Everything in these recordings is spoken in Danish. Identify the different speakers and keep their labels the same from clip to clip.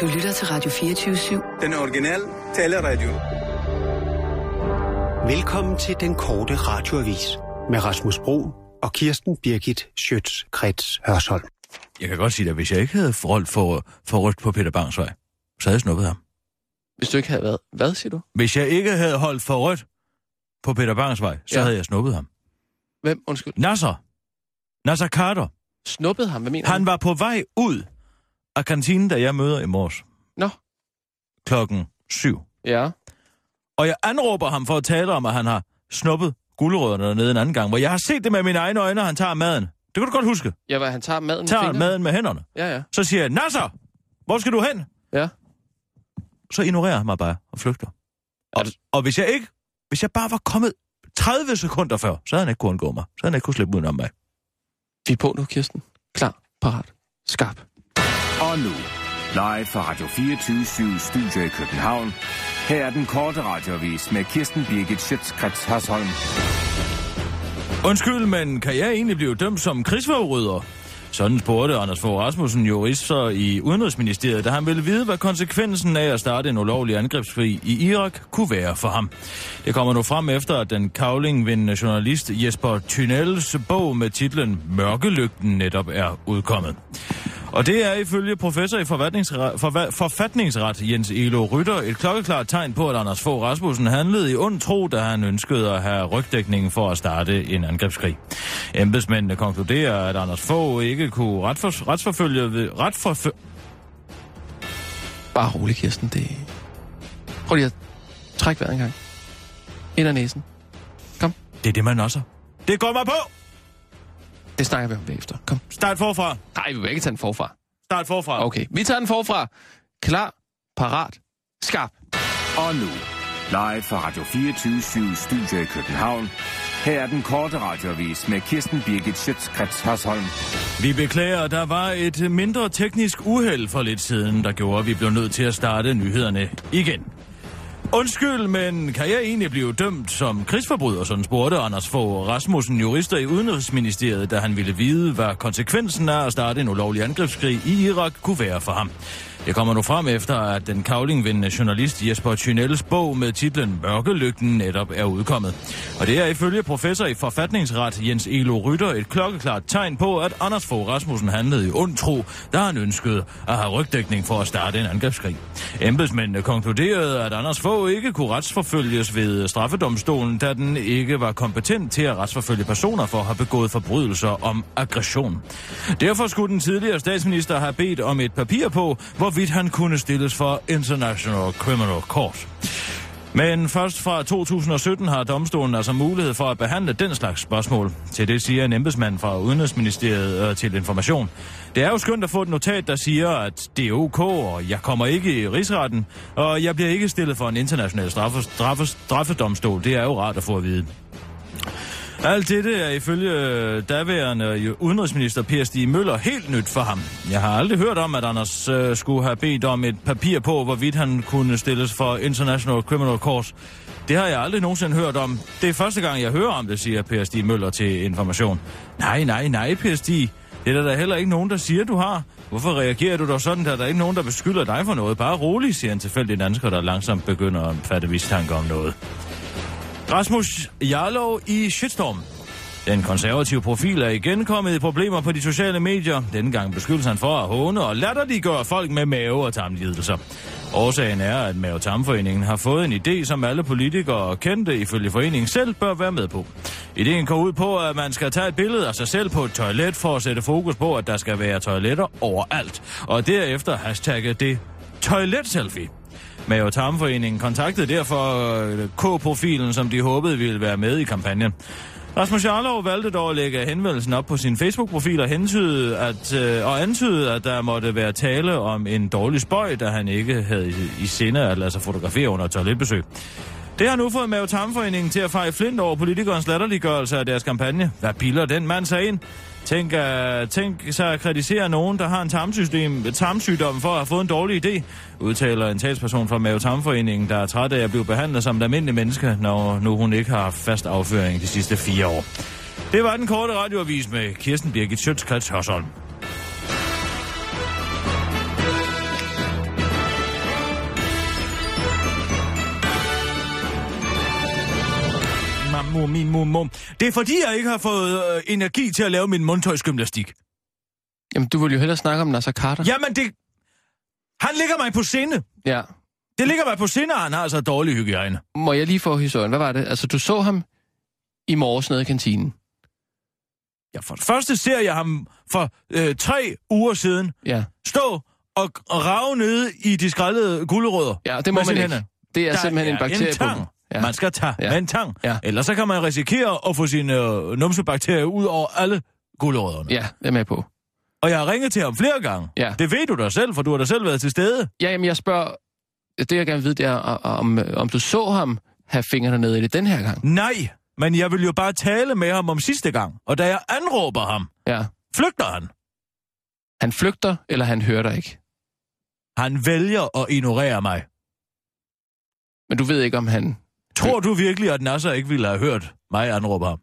Speaker 1: Du lytter til Radio 24-7.
Speaker 2: Den originale taleradio.
Speaker 3: Velkommen til den korte radioavis med Rasmus Bro og Kirsten Birgit Schøtz-Krets Hørsholm.
Speaker 4: Jeg kan godt sige dig, at hvis jeg ikke havde forholdt for, forrygt på Peter Bangs vej, så havde jeg snuppet ham.
Speaker 5: Hvis du ikke havde været... Hvad siger du?
Speaker 4: Hvis jeg ikke havde holdt for rødt på Peter Bangs vej, så
Speaker 5: Ja.
Speaker 4: ja. havde jeg snuppet ham.
Speaker 5: Hvem? Undskyld.
Speaker 4: Nasser. Nasser Carter.
Speaker 5: Snuppede ham? Hvad mener
Speaker 4: Han var på vej ud af kantinen, da jeg møder i morges.
Speaker 5: Nå.
Speaker 4: Klokken syv.
Speaker 5: Ja.
Speaker 4: Og jeg anråber ham for at tale om, at han har snuppet guldrødderne dernede en anden gang, hvor jeg har set det med mine egne øjne, og han tager maden. Det kan du godt huske.
Speaker 5: Ja, hvad, han tager maden med
Speaker 4: Tager
Speaker 5: fingrene?
Speaker 4: maden med hænderne.
Speaker 5: Ja, ja.
Speaker 4: Så siger jeg, Nasser, hvor skal du hen?
Speaker 5: Ja.
Speaker 4: Så ignorerer han mig bare og flygter.
Speaker 5: Er
Speaker 4: Og,
Speaker 5: du-
Speaker 4: og hvis jeg ikke, hvis jeg bare var kommet 30 sekunder før, så havde han ikke kunnet undgå mig. Så havde han ikke kunne slippe udenom mig.
Speaker 5: Vi er på nu, Kirsten. Klar, parat, skarp.
Speaker 6: Og nu, live fra Radio 24 Studio i København. Her er den korte radiovis med Kirsten Birgit Schøtzgrads Hasholm.
Speaker 4: Undskyld, men kan jeg egentlig blive dømt som krigsforbryder? Sådan spurgte Anders Fogh Rasmussen jurist så i Udenrigsministeriet, da han ville vide, hvad konsekvensen af at starte en ulovlig angrebskrig i Irak kunne være for ham. Det kommer nu frem efter, at den kavlingvindende journalist Jesper Tynels bog med titlen Mørkelygten netop er udkommet. Og det er ifølge professor i forfatningsret, forva- forfatningsret Jens Elo Rytter et klokkeklart tegn på, at Anders Fogh Rasmussen handlede i ond tro, da han ønskede at have rygdækningen for at starte en angrebskrig. Embedsmændene konkluderer, at Anders Fogh ikke kunne retfor- retsforfølge ved... Retforfø-
Speaker 5: Bare rolig, Kirsten. Det... Prøv lige at trække vejret en gang. Ind ad næsen.
Speaker 4: det er det, man også. Det går mig på!
Speaker 5: Det snakker vi om bagefter. Kom.
Speaker 4: Start forfra!
Speaker 5: Nej, vi vil ikke tage den forfra.
Speaker 4: Start forfra!
Speaker 5: Okay, vi tager den forfra. Klar, parat, skarp.
Speaker 6: Og nu, live fra Radio 24 Studio i København. Her er den korte radiovis med Kirsten Birgit Schøtzgrads Hasholm.
Speaker 4: Vi beklager, der var et mindre teknisk uheld for lidt siden, der gjorde, at vi blev nødt til at starte nyhederne igen. Undskyld, men kan jeg egentlig blive dømt som krigsforbryder, sådan spurgte Anders Fogh Rasmussen jurister i Udenrigsministeriet, da han ville vide, hvad konsekvensen af at starte en ulovlig angrebskrig i Irak kunne være for ham. Det kommer nu frem efter, at den kavlingvindende journalist Jesper Tynels bog med titlen Mørkelygten netop er udkommet. Og det er ifølge professor i forfatningsret Jens Elo Rytter et klokkeklart tegn på, at Anders Fogh Rasmussen handlede i ond tro, da han ønskede at have rygdækning for at starte en angrebskrig. Embedsmændene konkluderede, at Anders Fogh ikke kunne retsforfølges ved straffedomstolen, da den ikke var kompetent til at retsforfølge personer for at have begået forbrydelser om aggression. Derfor skulle den tidligere statsminister have bedt om et papir på, hvorvidt han kunne stilles for International Criminal Court. Men først fra 2017 har domstolen altså mulighed for at behandle den slags spørgsmål. Til det siger en embedsmand fra Udenrigsministeriet øh, til information. Det er jo skønt at få et notat, der siger, at det er ok, og jeg kommer ikke i rigsretten, og jeg bliver ikke stillet for en international straffe, straffe, straffedomstol. Det er jo rart at få at vide. Alt dette er ifølge øh, daværende jo- udenrigsminister Per Stig Møller helt nyt for ham. Jeg har aldrig hørt om, at Anders øh, skulle have bedt om et papir på, hvorvidt han kunne stilles for International Criminal Court. Det har jeg aldrig nogensinde hørt om. Det er første gang, jeg hører om det, siger Per Stig Møller til Information. Nej, nej, nej, Per Stig. Det er der da heller ikke nogen, der siger, du har. Hvorfor reagerer du dog sådan, da der er ikke nogen, der beskylder dig for noget? Bare rolig, siger en tilfældig dansker, der langsomt begynder at fatte mistanke om noget. Rasmus Jarlov i shitstorm. Den konservative profil er igen kommet i problemer på de sociale medier. Denne gang beskyldes han for at håne og latterliggøre folk med mave- og tarmlidelser. Årsagen er, at Mave-Tarmforeningen har fået en idé, som alle politikere og kendte ifølge foreningen selv bør være med på. Ideen går ud på, at man skal tage et billede af sig selv på et toilet for at sætte fokus på, at der skal være toiletter overalt. Og derefter hashtagge det toiletselfie. Mave Tarmforeningen kontaktede derfor øh, K-profilen, som de håbede ville være med i kampagnen. Rasmus Jarlov valgte dog at lægge henvendelsen op på sin Facebook-profil og, hentyde at, øh, og antydede, at der måtte være tale om en dårlig spøj, da han ikke havde i, i sinde at lade sig fotografere under et toiletbesøg. Det har nu fået Mave Tarmforeningen til at feje flint over politikernes latterliggørelse af deres kampagne. Hvad piller den mand sig ind? Tænk, uh, tænk sig at kritisere nogen, der har en tarmsystem, tarmsygdom for at have fået en dårlig idé, udtaler en talsperson fra Mave Tarmforeningen, der er træt af at blive behandlet som et almindeligt menneske, når nu hun ikke har haft fast afføring de sidste fire år. Det var den korte radioavis med Kirsten Birgit Sjøtskrets Hørsholm. mum, min mum, mum. Det er fordi, jeg ikke har fået øh, energi til at lave min mundtøjsgymnastik.
Speaker 5: Jamen, du vil jo hellere snakke om Nasser Carter.
Speaker 4: Jamen, det... Han ligger mig på sinde.
Speaker 5: ja.
Speaker 4: Det ligger mig på sinde, at han har så dårlig hygiejne.
Speaker 5: Må jeg lige få historien? Hvad var det? Altså, du så ham i morges nede i kantinen.
Speaker 4: Ja, for det første ser jeg ham for øh, tre uger siden
Speaker 5: Ja.
Speaker 4: stå og, og rave nede i de skrællede gulerødder.
Speaker 5: Ja, det må
Speaker 4: med
Speaker 5: man
Speaker 4: sine
Speaker 5: ikke.
Speaker 4: hænder.
Speaker 5: Det er
Speaker 4: Der
Speaker 5: simpelthen en bakterie
Speaker 4: en
Speaker 5: på
Speaker 4: tang.
Speaker 5: dem.
Speaker 4: Ja. Man skal tage
Speaker 5: Ja.
Speaker 4: ja. med en tang.
Speaker 5: Ja.
Speaker 4: Ja. Ellers så kan man risikere at få sine øh, numsebakterier ud over alle gulerødderne.
Speaker 5: Ja, jeg er med på.
Speaker 4: Og jeg har ringet til ham flere gange.
Speaker 5: Ja.
Speaker 4: Det ved du da selv, for du har da selv været til stede.
Speaker 5: Ja, jamen, jeg spørger... Det, jeg gerne vil vide, det er, o- om, om du så ham have fingrene nede i det den her gang.
Speaker 4: Nej, men jeg vil jo bare tale med ham om sidste gang. Og da jeg anråber ham,
Speaker 5: Ja.
Speaker 4: flygter han.
Speaker 5: Han flygter, eller han hører dig ikke.
Speaker 4: Han vælger at ignorere mig.
Speaker 5: Men du ved ikke, om han...
Speaker 4: Tror du virkelig, at Nasser ikke ville have hørt mig anråbe ham?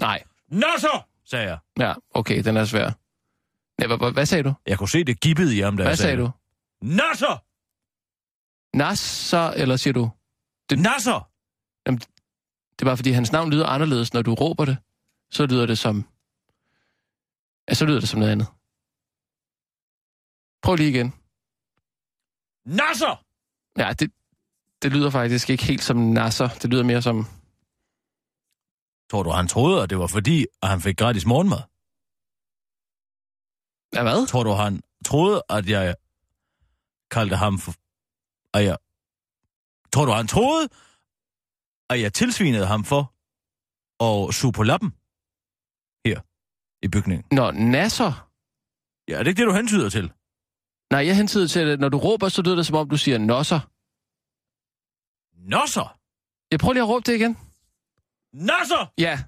Speaker 5: Nej.
Speaker 4: Nasser! sagde jeg.
Speaker 5: Ja, okay, den er svær. Ja, hvad, hvad, hvad sagde du?
Speaker 4: Jeg kunne se det gibbede i ham, da
Speaker 5: Hvad
Speaker 4: jeg
Speaker 5: sagde
Speaker 4: sagde
Speaker 5: du?
Speaker 4: det. Nasser!
Speaker 5: Nasser, eller siger du... Det-
Speaker 4: Nasser!
Speaker 5: Det er bare, fordi hans navn lyder anderledes, når du råber det. Så lyder det som... Ja, så lyder det som noget andet. Prøv lige igen.
Speaker 4: Nasser!
Speaker 5: Ja, det, det lyder faktisk ikke helt som Nasser. Det lyder mere som...
Speaker 4: Tror du, han troede, at det var fordi, at han fik gratis morgenmad?
Speaker 5: Ja, hvad?
Speaker 4: Tror du, han troede, at jeg kaldte ham for... At jeg... Tror du, han troede, at jeg tilsvinede ham for at suge på lappen? Her i bygningen.
Speaker 5: Nå, Nasser.
Speaker 4: Ja, er det ikke det, du hentyder til?
Speaker 5: Nej, jeg hentyder til, at når du råber, så lyder det, som om du siger Nosser.
Speaker 4: Nasser!
Speaker 5: Jeg prøver lige at råbe det igen.
Speaker 4: Nasser!
Speaker 5: Ja.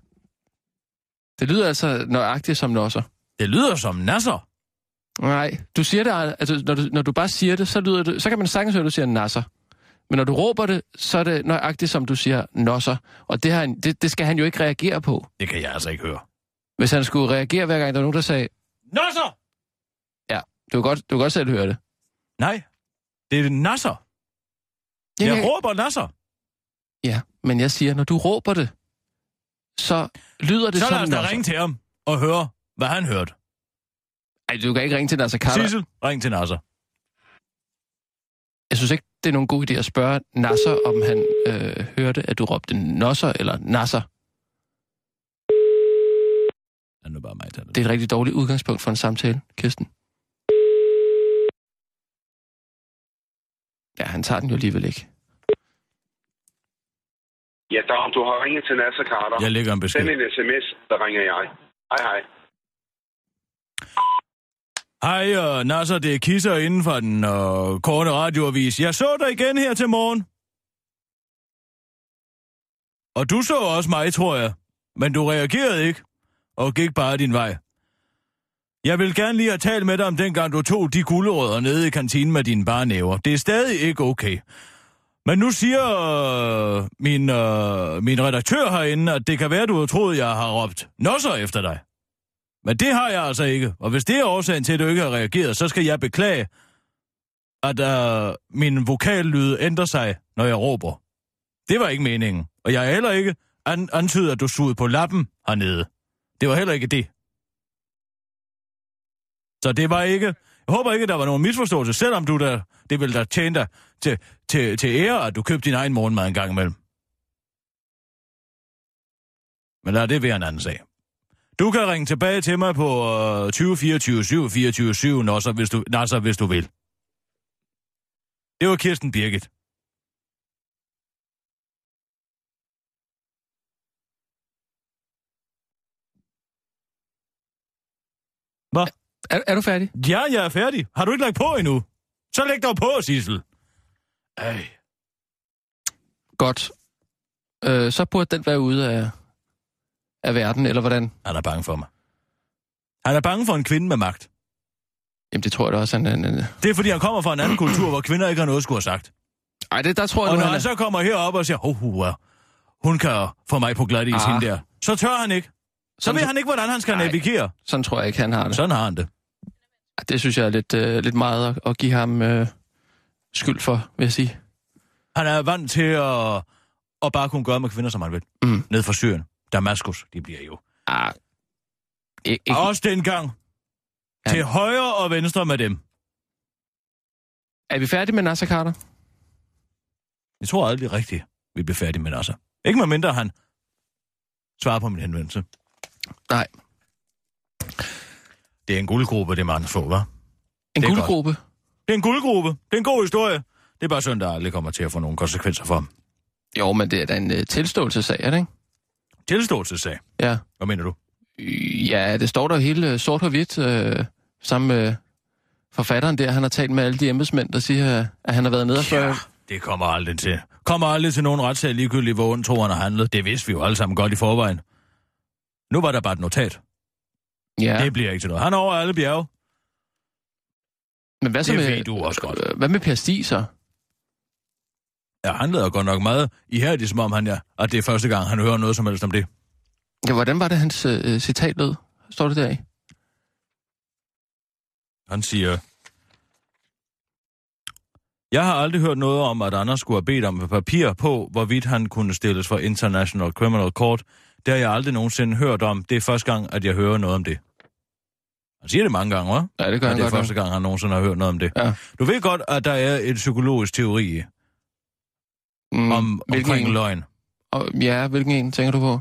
Speaker 5: Det lyder altså nøjagtigt som Nosser.
Speaker 4: Det lyder som Nasser.
Speaker 5: Nej, du siger det, altså når du, når du bare siger det, så, lyder det, så kan man sagtens høre, at du siger nasser. Men når du råber det, så er det nøjagtigt, som du siger nosser. Og det, har han, det, det skal han jo ikke reagere på.
Speaker 4: Det kan jeg altså ikke høre.
Speaker 5: Hvis han skulle reagere hver gang, der var nogen, der sagde,
Speaker 4: Nasser!
Speaker 5: du kan godt, du kan godt selv høre det.
Speaker 4: Nej, det er Nasser. Jeg råber Nasser.
Speaker 5: ja, men jeg siger, når du råber det, så lyder det
Speaker 4: Så lad
Speaker 5: som
Speaker 4: os da ringe til ham og høre, hvad han hørte.
Speaker 5: Ej, du kan ikke ringe til Nasser Carter.
Speaker 4: Sissel, ring til Nasser.
Speaker 5: Jeg synes ikke, det er nogen god idé at spørge Nasser, om han øh, hørte, at du råbte nosser eller nasser.
Speaker 4: Han er bare mig, der er det.
Speaker 5: Det er et rigtig dårligt udgangspunkt for en samtale, Kirsten. Ja, han tager den jo alligevel ikke.
Speaker 7: Ja, Dom, du har ringet til Nasser Carter.
Speaker 4: Jeg lægger en besked.
Speaker 7: Send en sms, der ringer jeg. Hej, hej.
Speaker 4: Hej, og Nasser, det er Kisser inden for den øh, korte radioavis. Jeg så dig igen her til morgen. Og du så også mig, tror jeg. Men du reagerede ikke, og gik bare din vej. Jeg vil gerne lige have talt med dig om dengang, du tog de gulerødder nede i kantinen med dine bare næver. Det er stadig ikke okay. Men nu siger øh, min, øh, min redaktør herinde, at det kan være, du har troet, jeg har råbt nosser efter dig. Men det har jeg altså ikke. Og hvis det er årsagen til, at du ikke har reageret, så skal jeg beklage, at øh, min vokallyd ændrer sig, når jeg råber. Det var ikke meningen. Og jeg er heller ikke an- antydet, at du sugede på lappen hernede. Det var heller ikke det. Så det var ikke... Jeg håber ikke, der var nogen misforståelse, selvom du da... Det ville da tjene dig til, til, til ære, at du købte din egen morgenmad en gang imellem. Men lad det være en anden sag. Du kan ringe tilbage til mig på øh, 2024 724 Nasser, hvis du, Nasser, hvis du vil. Det var Kirsten Birgit. Hvad?
Speaker 5: Er, er du færdig?
Speaker 4: Ja, jeg er færdig. Har du ikke lagt på endnu? Så læg dig på, Sissel. Ej.
Speaker 5: Godt. Øh, så burde den være ude af, af verden, eller hvordan?
Speaker 4: Han er bange for mig. Han er bange for en kvinde med magt.
Speaker 5: Jamen, det tror jeg da også, han... han, han
Speaker 4: Det er, fordi han kommer fra en anden kultur, hvor kvinder ikke har noget at skulle have sagt.
Speaker 5: ej, det, der tror jeg
Speaker 4: Og
Speaker 5: nu,
Speaker 4: når
Speaker 5: han
Speaker 4: han så
Speaker 5: er...
Speaker 4: kommer herop og siger, oh, hua, hun kan få mig på glat i
Speaker 5: Ah.
Speaker 4: hende der, så tør han ikke. Så
Speaker 5: Sådan
Speaker 4: ved
Speaker 5: tro-
Speaker 4: han ikke, hvordan han skal
Speaker 5: Nej.
Speaker 4: navigere.
Speaker 5: Sådan tror jeg ikke, han har det. Ah,
Speaker 4: Sådan har han det.
Speaker 5: Det synes jeg er lidt, øh, lidt meget at, at give ham øh, skyld for, vil jeg sige.
Speaker 4: Han er vant til at, og bare kunne gøre med kvinder, som han vil.
Speaker 5: Mm.
Speaker 4: Ned fra Syrien. Damaskus, de bliver jo.
Speaker 5: Ah, E- ikke,
Speaker 4: Ikke...
Speaker 5: ikke,
Speaker 4: Også dengang.
Speaker 5: Ja.
Speaker 4: Ja. Til højre og venstre med dem.
Speaker 5: er vi færdige med Nasser Carter?
Speaker 4: Jeg tror aldrig rigtigt, vi bliver færdige med Nasser. Ikke med mindre han svarer på min henvendelse.
Speaker 5: Nej.
Speaker 4: Det er en guldgruppe, det man får, hva'?
Speaker 5: En
Speaker 4: Det er
Speaker 5: guldgruppe?
Speaker 4: Det er en guldgruppe. Det er en god historie. Det er bare synd, der aldrig kommer til at få nogen konsekvenser for ham.
Speaker 5: Jo, men det er da en uh, tilståelsesag, er det ikke?
Speaker 4: Tilståelsessag.
Speaker 5: Ja.
Speaker 4: Hvad mener du?
Speaker 5: Øh, Ja, det står der jo hele øh, sort og hvidt, øh, sammen med forfatteren der. Han har talt med alle de embedsmænd, der siger, øh, at han har været nede og før.
Speaker 4: Det kommer aldrig til. Kommer aldrig til nogen retssag ligegyldigt, hvor ondt tror han har handlet. Det vidste vi jo alle sammen godt i forvejen. Nu var der bare et notat. Ja.
Speaker 5: Ja,
Speaker 4: Det bliver ikke til noget. Han er over alle bjerge.
Speaker 5: men hvad så
Speaker 4: det
Speaker 5: med...
Speaker 4: ved du også godt.
Speaker 5: øh, Hvad med Per Stig så?
Speaker 4: Ja, han lader godt nok meget ihærdigt, som om han ja, at det er første gang, han hører noget som helst om det.
Speaker 5: Ja, hvordan var det, hans øh, citat lød? Står det der i?
Speaker 4: Han siger... Jeg har aldrig hørt noget om, at Anders skulle have bedt om et papir på, hvorvidt han kunne stilles for International Criminal Court. Det har jeg aldrig nogensinde hørt om. Det er første gang, at jeg hører noget om det. Han siger det mange gange, hva'?
Speaker 5: Ja, det gør
Speaker 4: Ja,
Speaker 5: han
Speaker 4: det er
Speaker 5: godt. nok.
Speaker 4: første gang, han nogensinde har hørt noget om det.
Speaker 5: Ja.
Speaker 4: Du ved godt, at der er et psykologisk teori
Speaker 5: Mm,
Speaker 4: mm, om,
Speaker 5: hvilken
Speaker 4: omkring
Speaker 5: en?
Speaker 4: løgn.
Speaker 5: Og, ja, hvilken en tænker du på?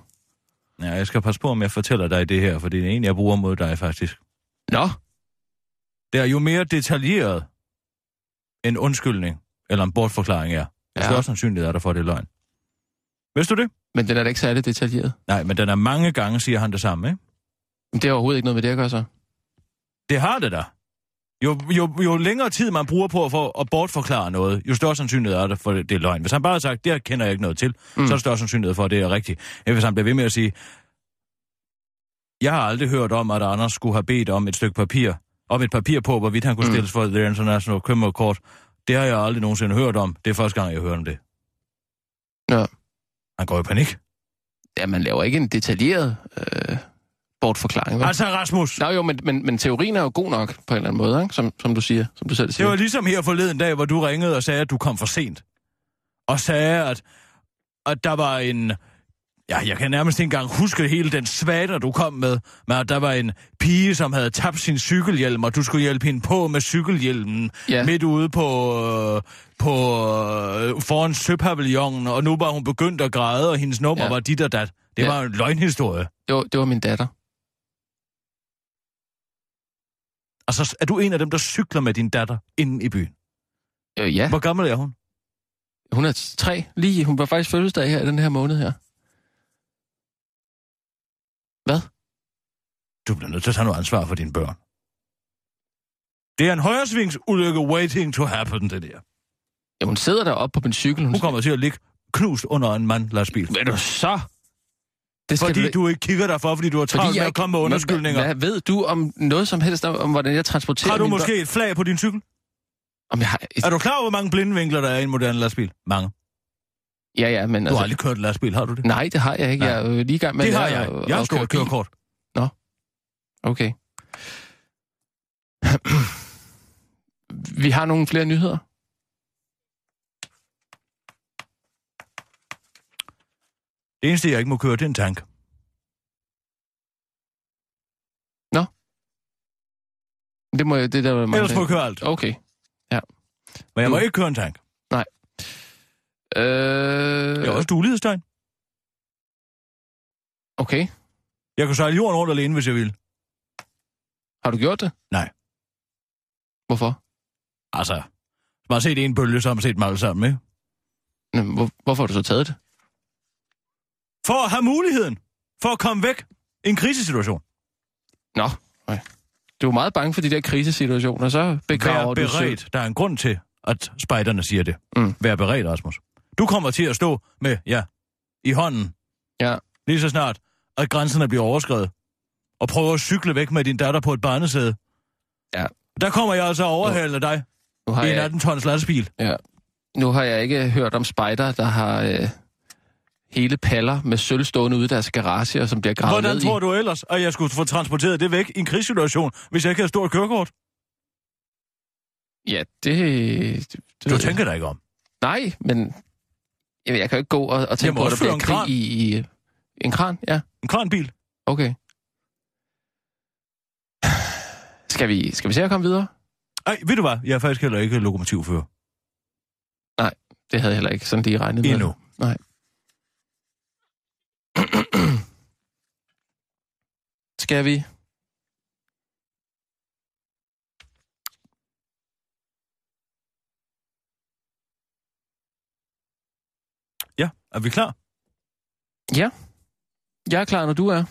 Speaker 4: Ja, jeg skal passe på, om jeg fortæller dig det her, for det er en, jeg bruger mod dig faktisk.
Speaker 5: Nå,
Speaker 4: Det er jo mere detaljeret en undskyldning eller en bortforklaring er. Ja.
Speaker 5: Ja.
Speaker 4: Større sandsynlighed er der for, at det er løgn. Vidste du det?
Speaker 5: men den er da ikke særlig detaljeret.
Speaker 4: Nej, men den er mange gange, siger han det samme, ikke?
Speaker 5: Men det er overhovedet ikke noget med det at gøre så.
Speaker 4: Det har det da. Jo, jo, jo længere tid man bruger på at, for, at bortforklare noget, jo større sandsynlighed er der for, at det er løgn. Hvis han bare har sagt, det her kender jeg ikke noget til, mm. så er der større sandsynlighed for, at det er rigtigt. End hvis han bliver ved med at sige, jeg har aldrig hørt om, at Anders skulle have bedt om et stykke papir, om et papir på, hvorvidt han kunne
Speaker 5: Mm.
Speaker 4: stilles for The International Criminal Court. Det har jeg aldrig nogensinde hørt om. Det er første gang, jeg hører om det.
Speaker 5: Ja.
Speaker 4: Han går i panik.
Speaker 5: Ja, man laver ikke en detaljeret øh, bortforklaring. Vel?
Speaker 4: Altså, Rasmus!
Speaker 5: Nå jo, men, men, men teorien er jo god nok på en eller anden måde, ikke? Som, som du siger, som du selv
Speaker 4: Det
Speaker 5: siger.
Speaker 4: var ligesom her forleden dag, hvor du ringede og sagde, at du kom for sent. Og sagde, at, at der var en... Ja, jeg kan nærmest ikke engang huske hele den svater, du kom med. Men at der var en pige, som havde tabt sin cykelhjelm, og du skulle hjælpe hende på med cykelhjelmen.
Speaker 5: Ja.
Speaker 4: Ja. Midt ude på, øh, på øh, foran søpavillonen, og nu var hun begyndt at græde, og hendes nummer
Speaker 5: Ja.
Speaker 4: ja. var dit og dat. Det
Speaker 5: Ja.
Speaker 4: ja. var en løgnhistorie.
Speaker 5: det, var, det var min datter.
Speaker 4: Altså, er du en af dem, der cykler med din datter inden i byen?
Speaker 5: Øh, ja,
Speaker 4: Hvor gammel er hun?
Speaker 5: hun er tre lige. Hun var faktisk fødselsdag her i den her måned her. Hvad?
Speaker 4: Du bliver nødt til at tage noget ansvar for dine børn. Det er en højresvingsulykke waiting to happen, det der.
Speaker 5: Ja, hun sidder deroppe på min cykel. Hun,
Speaker 4: Hun kommer til at ligge knust under en mand, lastbil.
Speaker 5: Hvad er du så? Det skal
Speaker 4: Fordi
Speaker 5: ikke-
Speaker 4: du ikke kigger derfor, fordi du har travlt med at komme med
Speaker 5: Men
Speaker 4: underskyldninger.
Speaker 5: Hvad, hvad ved du om noget som helst, om, om hvordan jeg transporterer
Speaker 4: Har du
Speaker 5: mine
Speaker 4: måske et flag på din cykel?
Speaker 5: børn? Om jeg har...
Speaker 4: Er du klar over, hvor mange blindvinkler der er i en moderne lastbil? Mange.
Speaker 5: Ja, ja, men
Speaker 4: Du har
Speaker 5: altså...
Speaker 4: aldrig kørt en lastbil, har du det?
Speaker 5: Nej, det har jeg ikke.
Speaker 4: Nej.
Speaker 5: Jeg er jo lige i gang med
Speaker 4: det
Speaker 5: at
Speaker 4: har
Speaker 5: lære
Speaker 4: jeg.
Speaker 5: at-
Speaker 4: Jeg har
Speaker 5: at
Speaker 4: stort
Speaker 5: køre bil.
Speaker 4: kørekort.
Speaker 5: Okay. Vi har nogle flere nyheder.
Speaker 4: Det eneste, jeg ikke må køre, det er en tank.
Speaker 5: Det må jeg... Det der, var
Speaker 4: Ellers må jeg køre alt.
Speaker 5: Okay.
Speaker 4: Men jeg må
Speaker 5: Mm.
Speaker 4: ikke køre en tank.
Speaker 5: Øh,
Speaker 4: Jeg er også dulighedstegn.
Speaker 5: Okay.
Speaker 4: Jeg kan sejle jorden rundt alene, hvis jeg vil.
Speaker 5: Har du gjort det?
Speaker 4: Nej.
Speaker 5: Hvorfor?
Speaker 4: Altså, man har set en bølge, så har man set dem alle sammen, ikke?
Speaker 5: Nå, men Hvor, hvorfor har du så taget det?
Speaker 4: For at have muligheden. For at komme væk. En krisesituation.
Speaker 5: Nå. Okay. Du er meget bange for de der krisesituationer, så begraver
Speaker 4: Vær
Speaker 5: du selv-
Speaker 4: beredt. Der er en grund til, at spejderne siger det.
Speaker 5: Mm.
Speaker 4: Vær beredt, Rasmus. Du kommer til at stå med, ja, i hånden.
Speaker 5: Ja.
Speaker 4: Lige så snart, at grænserne bliver overskrevet. Og prøver at cykle væk med din datter på et barnesæde.
Speaker 5: Ja.
Speaker 4: Der kommer jeg altså og overhaler dig
Speaker 5: Nu har
Speaker 4: i en
Speaker 5: jeg-
Speaker 4: 18-tons lastbil.
Speaker 5: Nu har jeg ikke hørt om spejder, der har øh, hele paller med sølv stående ude i deres garage, og som bliver gravet
Speaker 4: Hvordan
Speaker 5: ned
Speaker 4: tror
Speaker 5: i.
Speaker 4: du ellers, at jeg skulle få transporteret det væk i en krigssituation, hvis jeg ikke havde stort kørekort?
Speaker 5: Ja, det... det, det
Speaker 4: Du
Speaker 5: ved jeg.
Speaker 4: tænker dig ikke om.
Speaker 5: Nej, men Jamen, jeg kan jo ikke gå og, og tænke
Speaker 4: Jeg må
Speaker 5: på, at der
Speaker 4: også
Speaker 5: bliver
Speaker 4: føre en kran.
Speaker 5: krig i, i... En kran? Ja,
Speaker 4: En kranbil.
Speaker 5: okay. Skal vi, skal vi se at komme videre?
Speaker 4: Ej, ved du hvad? Jeg er faktisk heller ikke lokomotivfører.
Speaker 5: Det havde jeg heller ikke sådan lige regnet med.
Speaker 4: Endnu.
Speaker 5: Nej. Skal vi?
Speaker 4: Ja, er vi klar?
Speaker 5: Jeg er klar, når du er.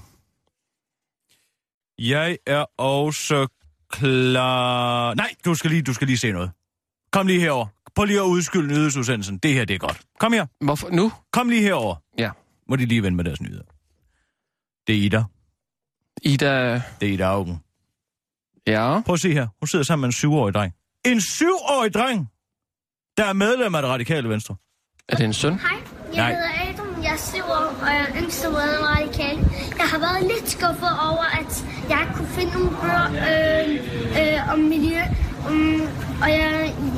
Speaker 4: Jeg er også klar... Nej, du skal lige, du skal lige se noget. Kom lige herover. Prøv lige at udskylde nyhedsudsendelsen. Det her, det er godt. Kom her.
Speaker 5: Hvorfor? Nu?
Speaker 4: Kom lige herover.
Speaker 5: Ja.
Speaker 4: Må de lige vende med deres nyheder. Det er Ida.
Speaker 5: Ida...
Speaker 4: Det er Ida Augen.
Speaker 5: Ja.
Speaker 4: Prøv at se her. Hun sidder sammen med en syvårig dreng. En syvårig dreng, der er medlem af det radikale venstre.
Speaker 5: Er det en søn?
Speaker 8: Hej, jeg
Speaker 4: Nej.
Speaker 8: hedder Adam, jeg er syv år, og jeg er yngste medlem af radikale. Jeg har været lidt skuffet over, at jeg ikke kunne finde nogle bøger øh, øh, om miljø. Um, og jeg,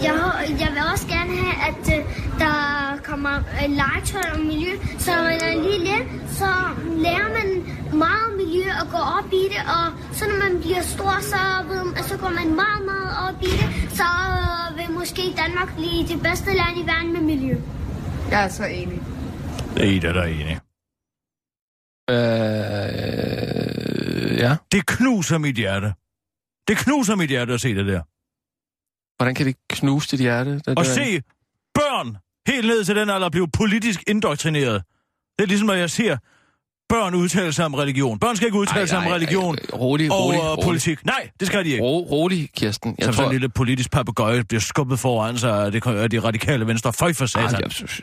Speaker 8: jeg, jeg vil også gerne have, at øh, der kommer øh, legetøj om miljø, så når man er lige lidt, så lærer man meget om miljø og går op i det, og så når man bliver stor, så, ved, så går man meget, meget op i det, så øh, vil måske Danmark blive det bedste land i verden med miljø.
Speaker 9: Jeg er så enig.
Speaker 4: Det er Ida, der er enig.
Speaker 5: Øh, ja.
Speaker 4: Det knuser mit hjerte. Det knuser mit hjerte at se det der.
Speaker 5: Hvordan kan det knuse dit hjerte? Der
Speaker 4: Og se børn helt ned til den alder blive politisk indoktrineret. Det er ligesom, at jeg ser børn udtale sig om religion. Børn skal ikke udtale sig om religion
Speaker 5: Rolig,
Speaker 4: og
Speaker 5: rolig,
Speaker 4: øh,
Speaker 5: rolig.
Speaker 4: politik. Nej, det skal de ikke.
Speaker 5: Ro, rolig, Kirsten. Jeg
Speaker 4: Som sådan
Speaker 5: tror...
Speaker 4: en lille politisk papegøje bliver skubbet foran sig af det, af de radikale venstre. Føj for
Speaker 5: Ej,
Speaker 4: satan.
Speaker 5: jeg, synes-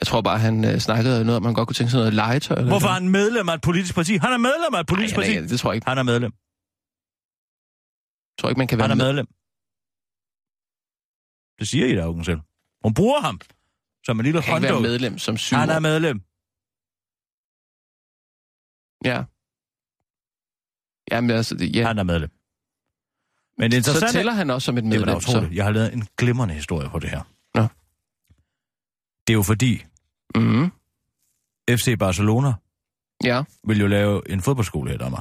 Speaker 5: jeg tror bare, han øh, snakkede noget om, man godt kunne tænke sig noget legetøj. Eller
Speaker 4: Hvorfor er
Speaker 5: noget.
Speaker 4: han medlem af et politisk parti? Han er medlem af et politisk
Speaker 5: Ej,
Speaker 4: parti.
Speaker 5: jeg, ved- det tror jeg ikke.
Speaker 4: Han er medlem.
Speaker 5: Jeg tror ikke, man kan være
Speaker 4: Han er
Speaker 5: med.
Speaker 4: medlem. Det siger I da Augen selv. Hun bruger ham som en lille
Speaker 5: Han kan ikke være
Speaker 4: håndtog.
Speaker 5: medlem som syv
Speaker 4: Han er medlem.
Speaker 5: Ja. Jamen, altså, det, ja.
Speaker 4: Han er medlem. Men det
Speaker 5: så
Speaker 4: interessante
Speaker 5: tæller han også som et
Speaker 4: Det er da
Speaker 5: medlem.
Speaker 4: utroligt. Jeg har lavet en glimrende historie på det her.
Speaker 5: altså- Nå.
Speaker 4: Det er jo fordi,
Speaker 5: Mm,
Speaker 4: FC Barcelona
Speaker 5: ja.
Speaker 4: vil jo lave en fodboldskole her, der mig.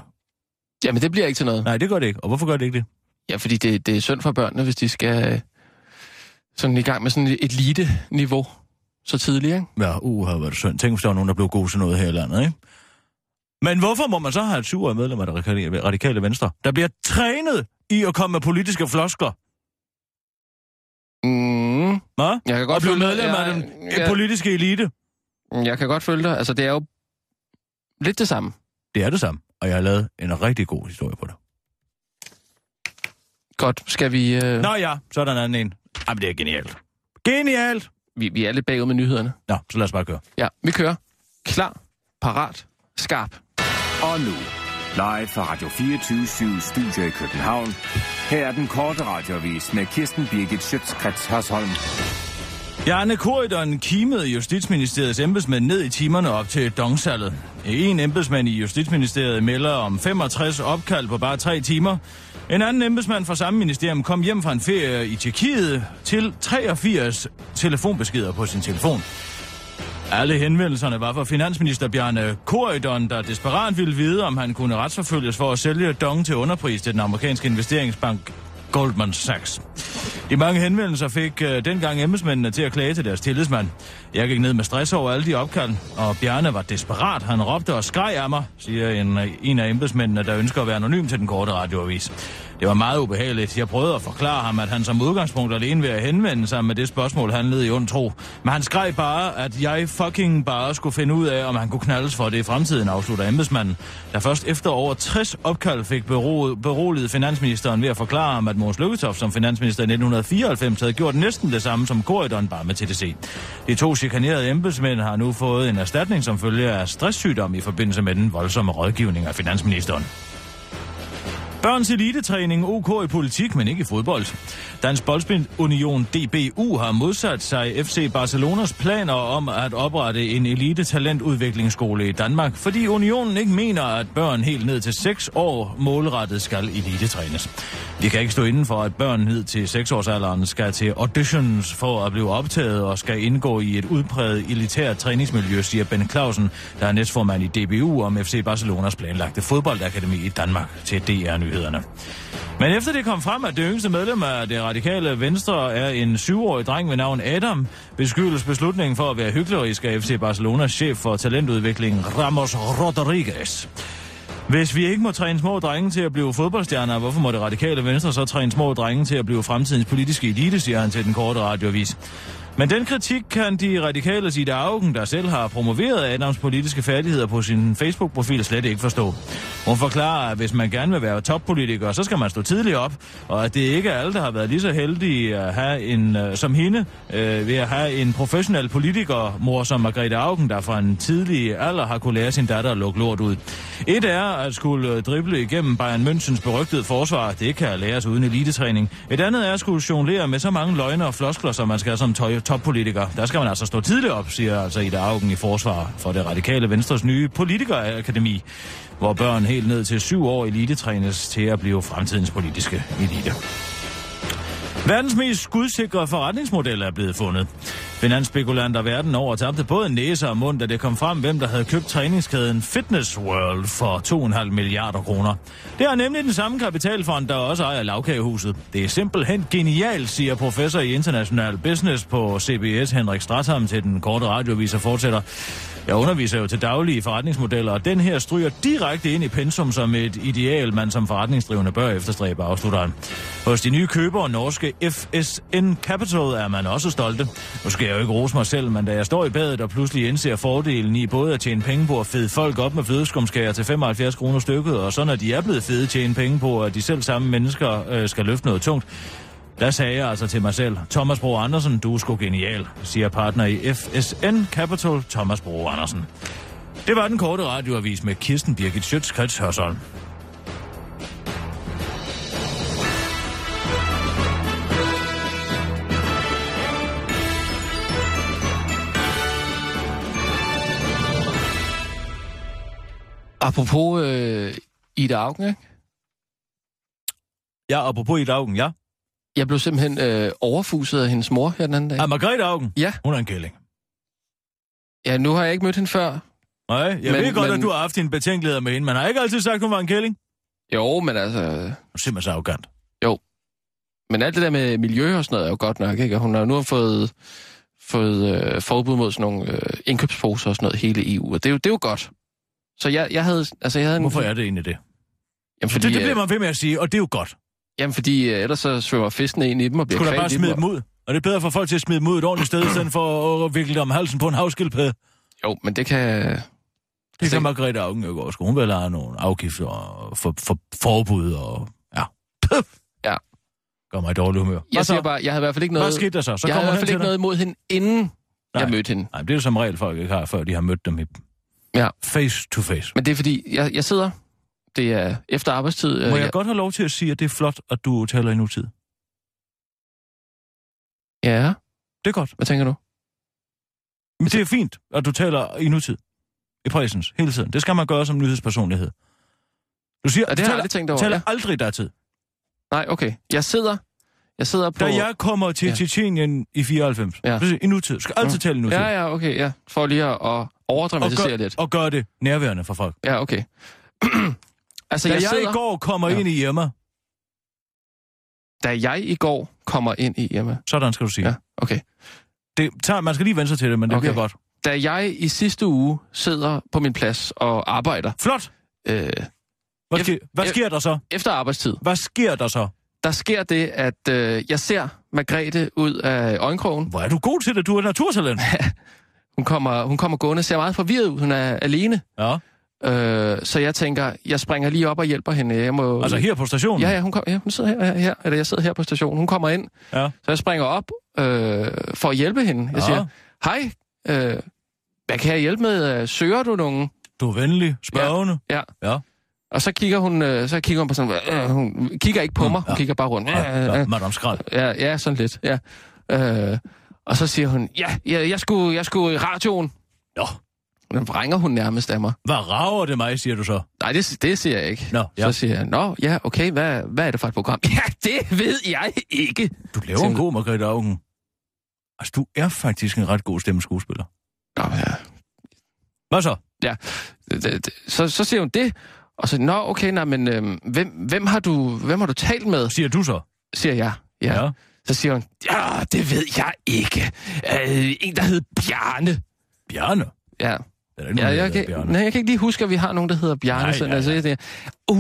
Speaker 5: Jamen, det bliver ikke til noget.
Speaker 4: Nej, det gør det ikke. Og hvorfor gør det ikke det?
Speaker 5: Ja, fordi det, det er synd for børnene, hvis de skal øh, sådan i gang med sådan et elite-niveau så tidligt, ikke?
Speaker 4: Ja, uh, har været synd. Tænk, hvis der var nogen, der blev god til noget her i landet, ikke? Men hvorfor må man så have et syvårigt medlem af det radikale- radikale venstre, der bliver trænet i at komme med politiske floskler?
Speaker 5: Mm,
Speaker 4: Hva?
Speaker 5: jeg kan
Speaker 4: Og
Speaker 5: godt
Speaker 4: blive
Speaker 5: følge
Speaker 4: medlem af
Speaker 5: jeg,
Speaker 4: den
Speaker 5: jeg, Mm,
Speaker 4: politiske elite?
Speaker 5: jeg, jeg kan godt følge dig. Altså, det er jo lidt det samme.
Speaker 4: Det er det samme. Og jeg har lavet en rigtig god historie på det.
Speaker 5: Godt, skal vi... Øh,
Speaker 4: Nå ja, så er der en anden en. Jamen, det er genialt. Genialt!
Speaker 5: vi, vi er lidt bagud med nyhederne.
Speaker 4: Nå, så lad os bare køre.
Speaker 5: Ja, vi kører. Klar, parat, skarp.
Speaker 6: Og nu, live fra Radio 24 Studio i København. Her er den korte radiovis med Kirsten Birgit Schøtzgrads Hasholm.
Speaker 4: Bjarne Korydon kimede Justitsministeriets embedsmænd ned i timerne op til dongsalget. En embedsmand i Justitsministeriet melder om 65 opkald på bare tre timer. En anden embedsmand fra samme ministerium kom hjem fra en ferie i Tjekkiet til 83 telefonbeskeder på sin telefon. Alle henvendelserne var fra finansminister Bjarne Corydon, der desperat ville vide, om han kunne retsforfølges for at sælge dong til underpris til den amerikanske investeringsbank Goldman Sachs. De mange henvendelser fik øh, dengang embedsmændene til at klage til deres tillidsmand. Jeg gik ned med stress over alle de opkald, og Bjarne var desperat. Han råbte og skreg af mig, siger en, øh, en af embedsmændene, der ønsker at være anonym til den korte radioavis. Det var meget ubehageligt. Jeg prøvede at forklare ham, at han som udgangspunkt alene ved at henvende sig med det spørgsmål, han led i ond tro. Men han skreg bare, at jeg fucking bare skulle finde ud af, om han kunne knaldes for det i fremtiden, afslutter embedsmanden. Der først efter over 60 opkald fik bero- beroliget finansministeren ved at forklare ham, at Måns Lykketoft som finansminister i 1994 havde gjort næsten det samme som Corridon bare med TDC. De to chikanerede embedsmænd har nu fået en erstatning som følge af stresssygdom i forbindelse med den voldsomme rådgivning af finansministeren. Børns elitetræning OK i politik, men ikke i fodbold. Dansk Boldspil Union DBU har modsat sig FC Barcelonas planer om at oprette en elitetalentudviklingsskole i Danmark, fordi unionen ikke mener, at børn helt ned til 6 år målrettet skal elitetrænes. Vi kan ikke stå inden for, at børn ned til 6-årsalderen skal til auditions for at blive optaget og skal indgå i et udpræget elitært træningsmiljø, siger Ben Clausen, der er næstformand i DBU om FC Barcelonas planlagte fodboldakademi i Danmark til DR-nyhederne. Men efter det kom frem, at det yngste medlem af det radikale Venstre er en syvårig dreng ved navn Adam, beskyldes beslutningen for at være hyklerisk af FC Barcelonas chef for talentudvikling Ramos Rodriguez. Hvis vi ikke må træne små drenge til at blive fodboldstjerner, hvorfor må det radikale venstre så træne små drenge til at blive fremtidens politiske elite, siger han til den korte radiovis. Men den kritik kan de radikale Ida Augen, der selv har promoveret Adams politiske færdigheder på sin Facebook-profil, slet ikke forstå. Hun forklarer, at hvis man gerne vil være toppolitiker, så skal man stå tidligt op, og at det ikke er alle, der har været lige så heldige at have en, øh, som hende øh, ved at have en professionel politiker, mor som Margrethe Augen, der fra en tidlig alder har kunne lære sin datter at lukke lort ud. Et er at skulle øh, drible igennem Bayern Münchens berygtede forsvar, det kan læres uden elitetræning. Et andet er at skulle jonglere med så mange løgne og floskler, som man skal som tøj- toppolitiker. Der skal man altså stå tidligt op, siger altså Ida Augen i forsvar for det radikale Venstres nye politikerakademi, hvor børn helt ned til syv år elitetrænes til at blive fremtidens politiske elite. Verdens mest skudsikre forretningsmodel er blevet fundet. Finansspekulanter verden over tabte både næse og mund, da det kom frem, hvem der havde købt træningskæden Fitness World for 2,5 milliarder kroner. Det er nemlig den samme kapitalfond, der også ejer lavkagehuset. Det er simpelthen genialt, siger professor i international business på CBS Henrik Stratham til den korte radiovis og fortsætter. Jeg underviser jo til daglige forretningsmodeller, og den her stryger direkte ind i pensum som et ideal, man som forretningsdrivende bør efterstræbe, afslutter han. Hos de nye købere, norske FSN Capital, er man også stolte. Nu skal jeg jo ikke rose mig selv, men da jeg står i badet og pludselig indser fordelen i både at tjene penge på at fede folk op med flødeskumskager til 75 kroner stykket, og så når de er blevet fede, tjene penge på, at de selv samme mennesker øh, skal løfte noget tungt, der sagde jeg altså til mig selv, Thomas Bro Andersen, du er sgu genial, siger partner i FSN Capital, Thomas Bro Andersen. Det var den korte radioavis med Kirsten Birgit Schøtzgrads Hørsholm.
Speaker 5: Apropos øh, Ida Augen, ikke?
Speaker 4: Ja, apropos i dagen, ja.
Speaker 5: jeg blev simpelthen øh, overfuset af hendes mor her den anden dag.
Speaker 4: Er Margrethe Augen?
Speaker 5: Ja.
Speaker 4: Hun er en kælling.
Speaker 5: Ja, nu har jeg ikke mødt hende før.
Speaker 4: Nej, jeg men,
Speaker 5: Men-
Speaker 4: ved godt, men...
Speaker 5: men-
Speaker 4: at du har haft en betænkelighed med hende, men har ikke altid sagt, hun var en kælling?
Speaker 5: Jo, men altså... øh,
Speaker 4: Hun er simpelthen så arrogant.
Speaker 5: Men alt det der med miljø og sådan noget er jo godt nok, ikke? Og hun har nu fået, fået øh, forbud mod sådan nogle øh, indkøbsposer og sådan noget i hele EU, og det er jo, det er jo godt. Så jeg, jeg havde... Altså, jeg havde en-
Speaker 4: Hvorfor er det egentlig det?
Speaker 5: Jamen,
Speaker 4: Fordi,
Speaker 5: fordi,
Speaker 4: det, det
Speaker 5: øh,
Speaker 4: bliver man ved med at sige, og det er jo godt.
Speaker 5: Jamen, fordi øh, ellers så svømmer fisken ind i dem og bliver
Speaker 4: Skulle da
Speaker 5: kvalt
Speaker 4: bare
Speaker 5: i
Speaker 4: smide
Speaker 5: og-
Speaker 4: dem ud? Og det er bedre for folk til at smide dem ud et ordentligt sted, i stedet for at vikle dem om halsen på en havskildpadde.
Speaker 5: Jo, men det kan...
Speaker 4: Det kan
Speaker 5: Se.
Speaker 4: Margrethe Augen jo også. Hun vil have nogle afgifter og for, for, forbud og... Ja. Puff.
Speaker 5: Ja.
Speaker 4: Gør mig i dårlig humør. Hvad
Speaker 5: Jeg
Speaker 4: så?
Speaker 5: siger bare, jeg havde i hvert fald ikke noget...
Speaker 4: Hvad skete der så? Så
Speaker 5: jeg havde i
Speaker 4: kommer han
Speaker 5: hvert fald
Speaker 4: til
Speaker 5: ikke
Speaker 4: dig.
Speaker 5: noget imod hende, inden Nej.
Speaker 4: Nej.
Speaker 5: jeg mødte hende.
Speaker 4: Nej, det er jo som regel, folk ikke har, før de har mødt dem i
Speaker 5: Ja.
Speaker 4: face to face.
Speaker 5: Men det er fordi, jeg, jeg sidder... Det er efter arbejdstid. øh,
Speaker 4: Må jeg godt have lov til at sige, at det er flot, at du taler i nutid?
Speaker 5: Ja,
Speaker 4: Det er godt.
Speaker 5: hvad tænker du?
Speaker 4: Men
Speaker 5: Altså-
Speaker 4: det er fint, at du taler i nutid. I præsens. Hele tiden. Det skal man gøre som nyhedspersonlighed. Du siger, du
Speaker 5: Og det har jeg
Speaker 4: taler,
Speaker 5: aldrig tænkt over,
Speaker 4: taler
Speaker 5: ja.
Speaker 4: aldrig der tid.
Speaker 5: Nej, okay. Jeg sidder... Jeg sidder på...
Speaker 4: Da jeg kommer til ja.
Speaker 5: Ja.
Speaker 4: Tjetjenien i 94, ja.
Speaker 5: Ja. Mm.
Speaker 4: i nutid, Du skal altid tale i nutid.
Speaker 5: Ja, ja, okay, ja. For lige at, at
Speaker 4: og,
Speaker 5: overdramatisere
Speaker 4: gør,
Speaker 5: lidt.
Speaker 4: og gør det nærværende for folk.
Speaker 5: Ja, okay. altså,
Speaker 4: Da
Speaker 5: jeg,
Speaker 4: jeg,
Speaker 5: sidder...
Speaker 4: i går kommer ja.
Speaker 5: Ja.
Speaker 4: ind i Irma,
Speaker 5: Da jeg i går kommer ind i Irma.
Speaker 4: sådan skal du sige. Ja.
Speaker 5: Ja, okay.
Speaker 4: Det tager, man skal lige vende sig til det, men det okay.
Speaker 5: Okay.
Speaker 4: bliver godt.
Speaker 5: Da jeg i sidste uge sidder på min plads og arbejder
Speaker 4: Flot!
Speaker 5: øh,
Speaker 4: Hvad,
Speaker 5: Jeg-
Speaker 4: sker, hvad
Speaker 5: jeg-
Speaker 4: sker der så?
Speaker 5: efter arbejdstid,
Speaker 4: Hvad sker der så?
Speaker 5: der sker det, at øh, jeg ser Margrethe ud af øjenkrogen.
Speaker 4: Hvor er du god til det? Du er naturtalent.
Speaker 5: Hun kommer, hun kommer gående, ser meget forvirret ud. Hun er alene.
Speaker 4: Ja,
Speaker 5: Øh, så jeg tænker, jeg springer lige op og hjælper hende. Jeg må...
Speaker 4: altså her på stationen.
Speaker 5: Ja, ja, hun, kom, ja, hun sidder her, her, her, eller jeg sidder her på stationen. Hun kommer ind,
Speaker 4: Ja.
Speaker 5: så jeg springer op øh, for at hjælpe hende. Jeg
Speaker 4: Ja.
Speaker 5: siger, hej, øh, hvad kan jeg hjælpe med? Øh, Søger du nogen?
Speaker 4: Du er venlig, spørgende.
Speaker 5: Ja.
Speaker 4: Ja.
Speaker 5: Og så kigger hun, øh, så kigger hun på sådan, øh, hun kigger ikke på mig, hun kigger bare rundt. Øh, øh,
Speaker 4: Mm, Ja,
Speaker 5: øh.
Speaker 4: Madame Skrald.
Speaker 5: Ja, ja sådan lidt, ja. Øh, og så siger hun, ja, ja jeg, skulle, jeg skulle i radioen.
Speaker 4: Nå,
Speaker 5: Og den vrænger hun nærmest af mig.
Speaker 4: hvad rager det mig, siger du så?
Speaker 5: Nej, det, det siger jeg ikke.
Speaker 4: Nå, ja.
Speaker 5: Så siger jeg, nå, ja, okay, hvad, hvad er det for et program? Ja, det ved jeg ikke.
Speaker 4: Du laver en
Speaker 5: Tænker-
Speaker 4: god Margrethe Augen. Altså, du er faktisk en ret god stemmeskuespiller.
Speaker 5: Nå, ja.
Speaker 4: Hvad så?
Speaker 5: ja. Det- det- det- Så, så siger hun det, og så, nå, okay, nej, men øhm, hvem, hvem, har du, hvem har du talt med,
Speaker 4: Siger du så?
Speaker 5: siger jeg. Ja. ja. Så siger hun, ja, det ved jeg ikke. Øh, en, der hed Bjarne.
Speaker 4: Bjarne.
Speaker 5: Ja,
Speaker 4: Der er da ikke
Speaker 5: ja
Speaker 4: nogen,
Speaker 5: jeg,
Speaker 4: der hedder
Speaker 5: kan,
Speaker 4: Bjarne.
Speaker 5: nej, jeg kan ikke lige huske, at vi har nogen, der hedder Bjarne.
Speaker 4: Nej,
Speaker 5: Nej, sådan,
Speaker 4: ja,
Speaker 5: ja, altså,
Speaker 4: ja.
Speaker 5: jeg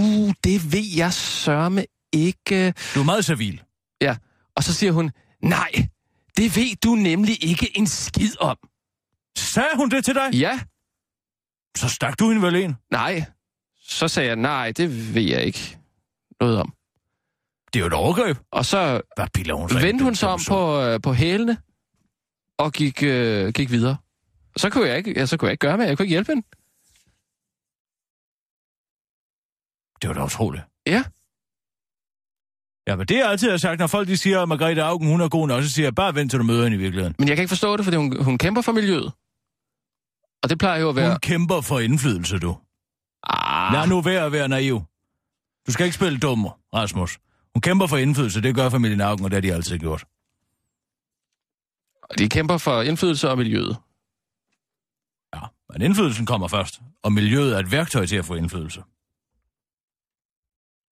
Speaker 5: tænker, uh, det ved jeg sørme ikke.
Speaker 4: Du er meget servil.
Speaker 5: Ja, og så siger hun, nej, det ved du nemlig ikke en skid om.
Speaker 4: Sagde hun det til dig?
Speaker 5: Ja,
Speaker 4: Så stak du hende vel en?
Speaker 5: nej. Så sagde jeg, nej, det ved jeg ikke noget om.
Speaker 4: Det er jo et overgreb.
Speaker 5: Og så
Speaker 4: Hvad piller hun så? af?
Speaker 5: vendte hun
Speaker 4: Den
Speaker 5: sig om
Speaker 4: dumme så?
Speaker 5: på, øh, på hælene og gik, øh, gik videre. Og så kunne jeg ikke, ja, så kunne jeg ikke gøre med, jeg kunne ikke hjælpe hende.
Speaker 4: Det var da utroligt.
Speaker 5: Ja.
Speaker 4: Ja, men det er altid, jeg har sagt, når folk de siger, at Margrethe Augen, hun er god nok, så siger jeg, bare vent til du møder hende i virkeligheden.
Speaker 5: Men jeg kan ikke forstå det, fordi hun, hun kæmper for miljøet. Og det plejer jo at være...
Speaker 4: Hun kæmper for indflydelse, du.
Speaker 5: Ah,
Speaker 4: Lad nu være at være naiv. Du skal ikke spille dum, Rasmus. Hun kæmper for indflydelse, det gør familien Augen, og det har de altid gjort.
Speaker 5: de kæmper for indflydelse og miljøet.
Speaker 4: Ja, men indflydelsen kommer først, og miljøet er et værktøj til at få indflydelse.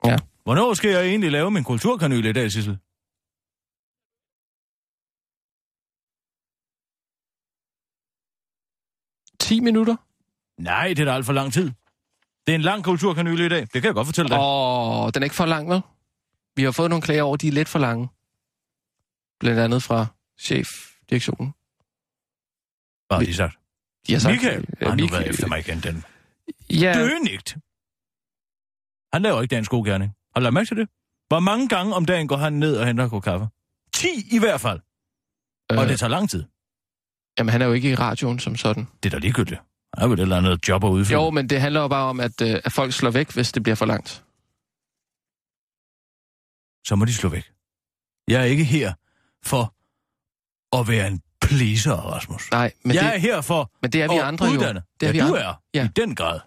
Speaker 5: Ja.
Speaker 4: Hvornår skal jeg egentlig lave min kulturkanal i dag, Sissel?
Speaker 5: Ti minutter?
Speaker 4: Nej, det er da alt for lang tid. Det er en lang kulturkanyle i dag. Det kan jeg godt fortælle dig.
Speaker 5: Åh, oh, den er ikke for lang, vel? Vi har fået nogle klager over, de er lidt for lange. Blandt andet fra chefdirektionen.
Speaker 4: Bare lige sagt.
Speaker 5: De har sagt,
Speaker 4: Altså, øh, Michael
Speaker 5: Ja,
Speaker 4: har nu
Speaker 5: Michael.
Speaker 4: været efter mig igen, den
Speaker 5: Ja,
Speaker 4: dønigt. Han laver ikke dagens gode gerning. Har du lagt mærke til det? Hvor mange gange om dagen går han ned og henter en kop kaffe? 10 i hvert fald. Øh. Og
Speaker 5: øh,
Speaker 4: det tager lang tid.
Speaker 5: jamen, han er jo ikke i radioen som sådan.
Speaker 4: Det er da ligegyldigt. Han har vel et eller andet job at udføre.
Speaker 5: Jo, men det handler jo bare om, at, øh, at folk slår væk, hvis det bliver for langt.
Speaker 4: Så må de slå væk. Jeg er ikke her for at være en pleaser, Rasmus.
Speaker 5: Nej, men,
Speaker 4: Men jeg det, er
Speaker 5: det,
Speaker 4: her for
Speaker 5: men det er vi
Speaker 4: at
Speaker 5: andre
Speaker 4: uddanne.
Speaker 5: jo. Det er
Speaker 4: ja,
Speaker 5: vi
Speaker 4: du
Speaker 5: andre.
Speaker 4: er.
Speaker 5: Ja.
Speaker 4: I den grad.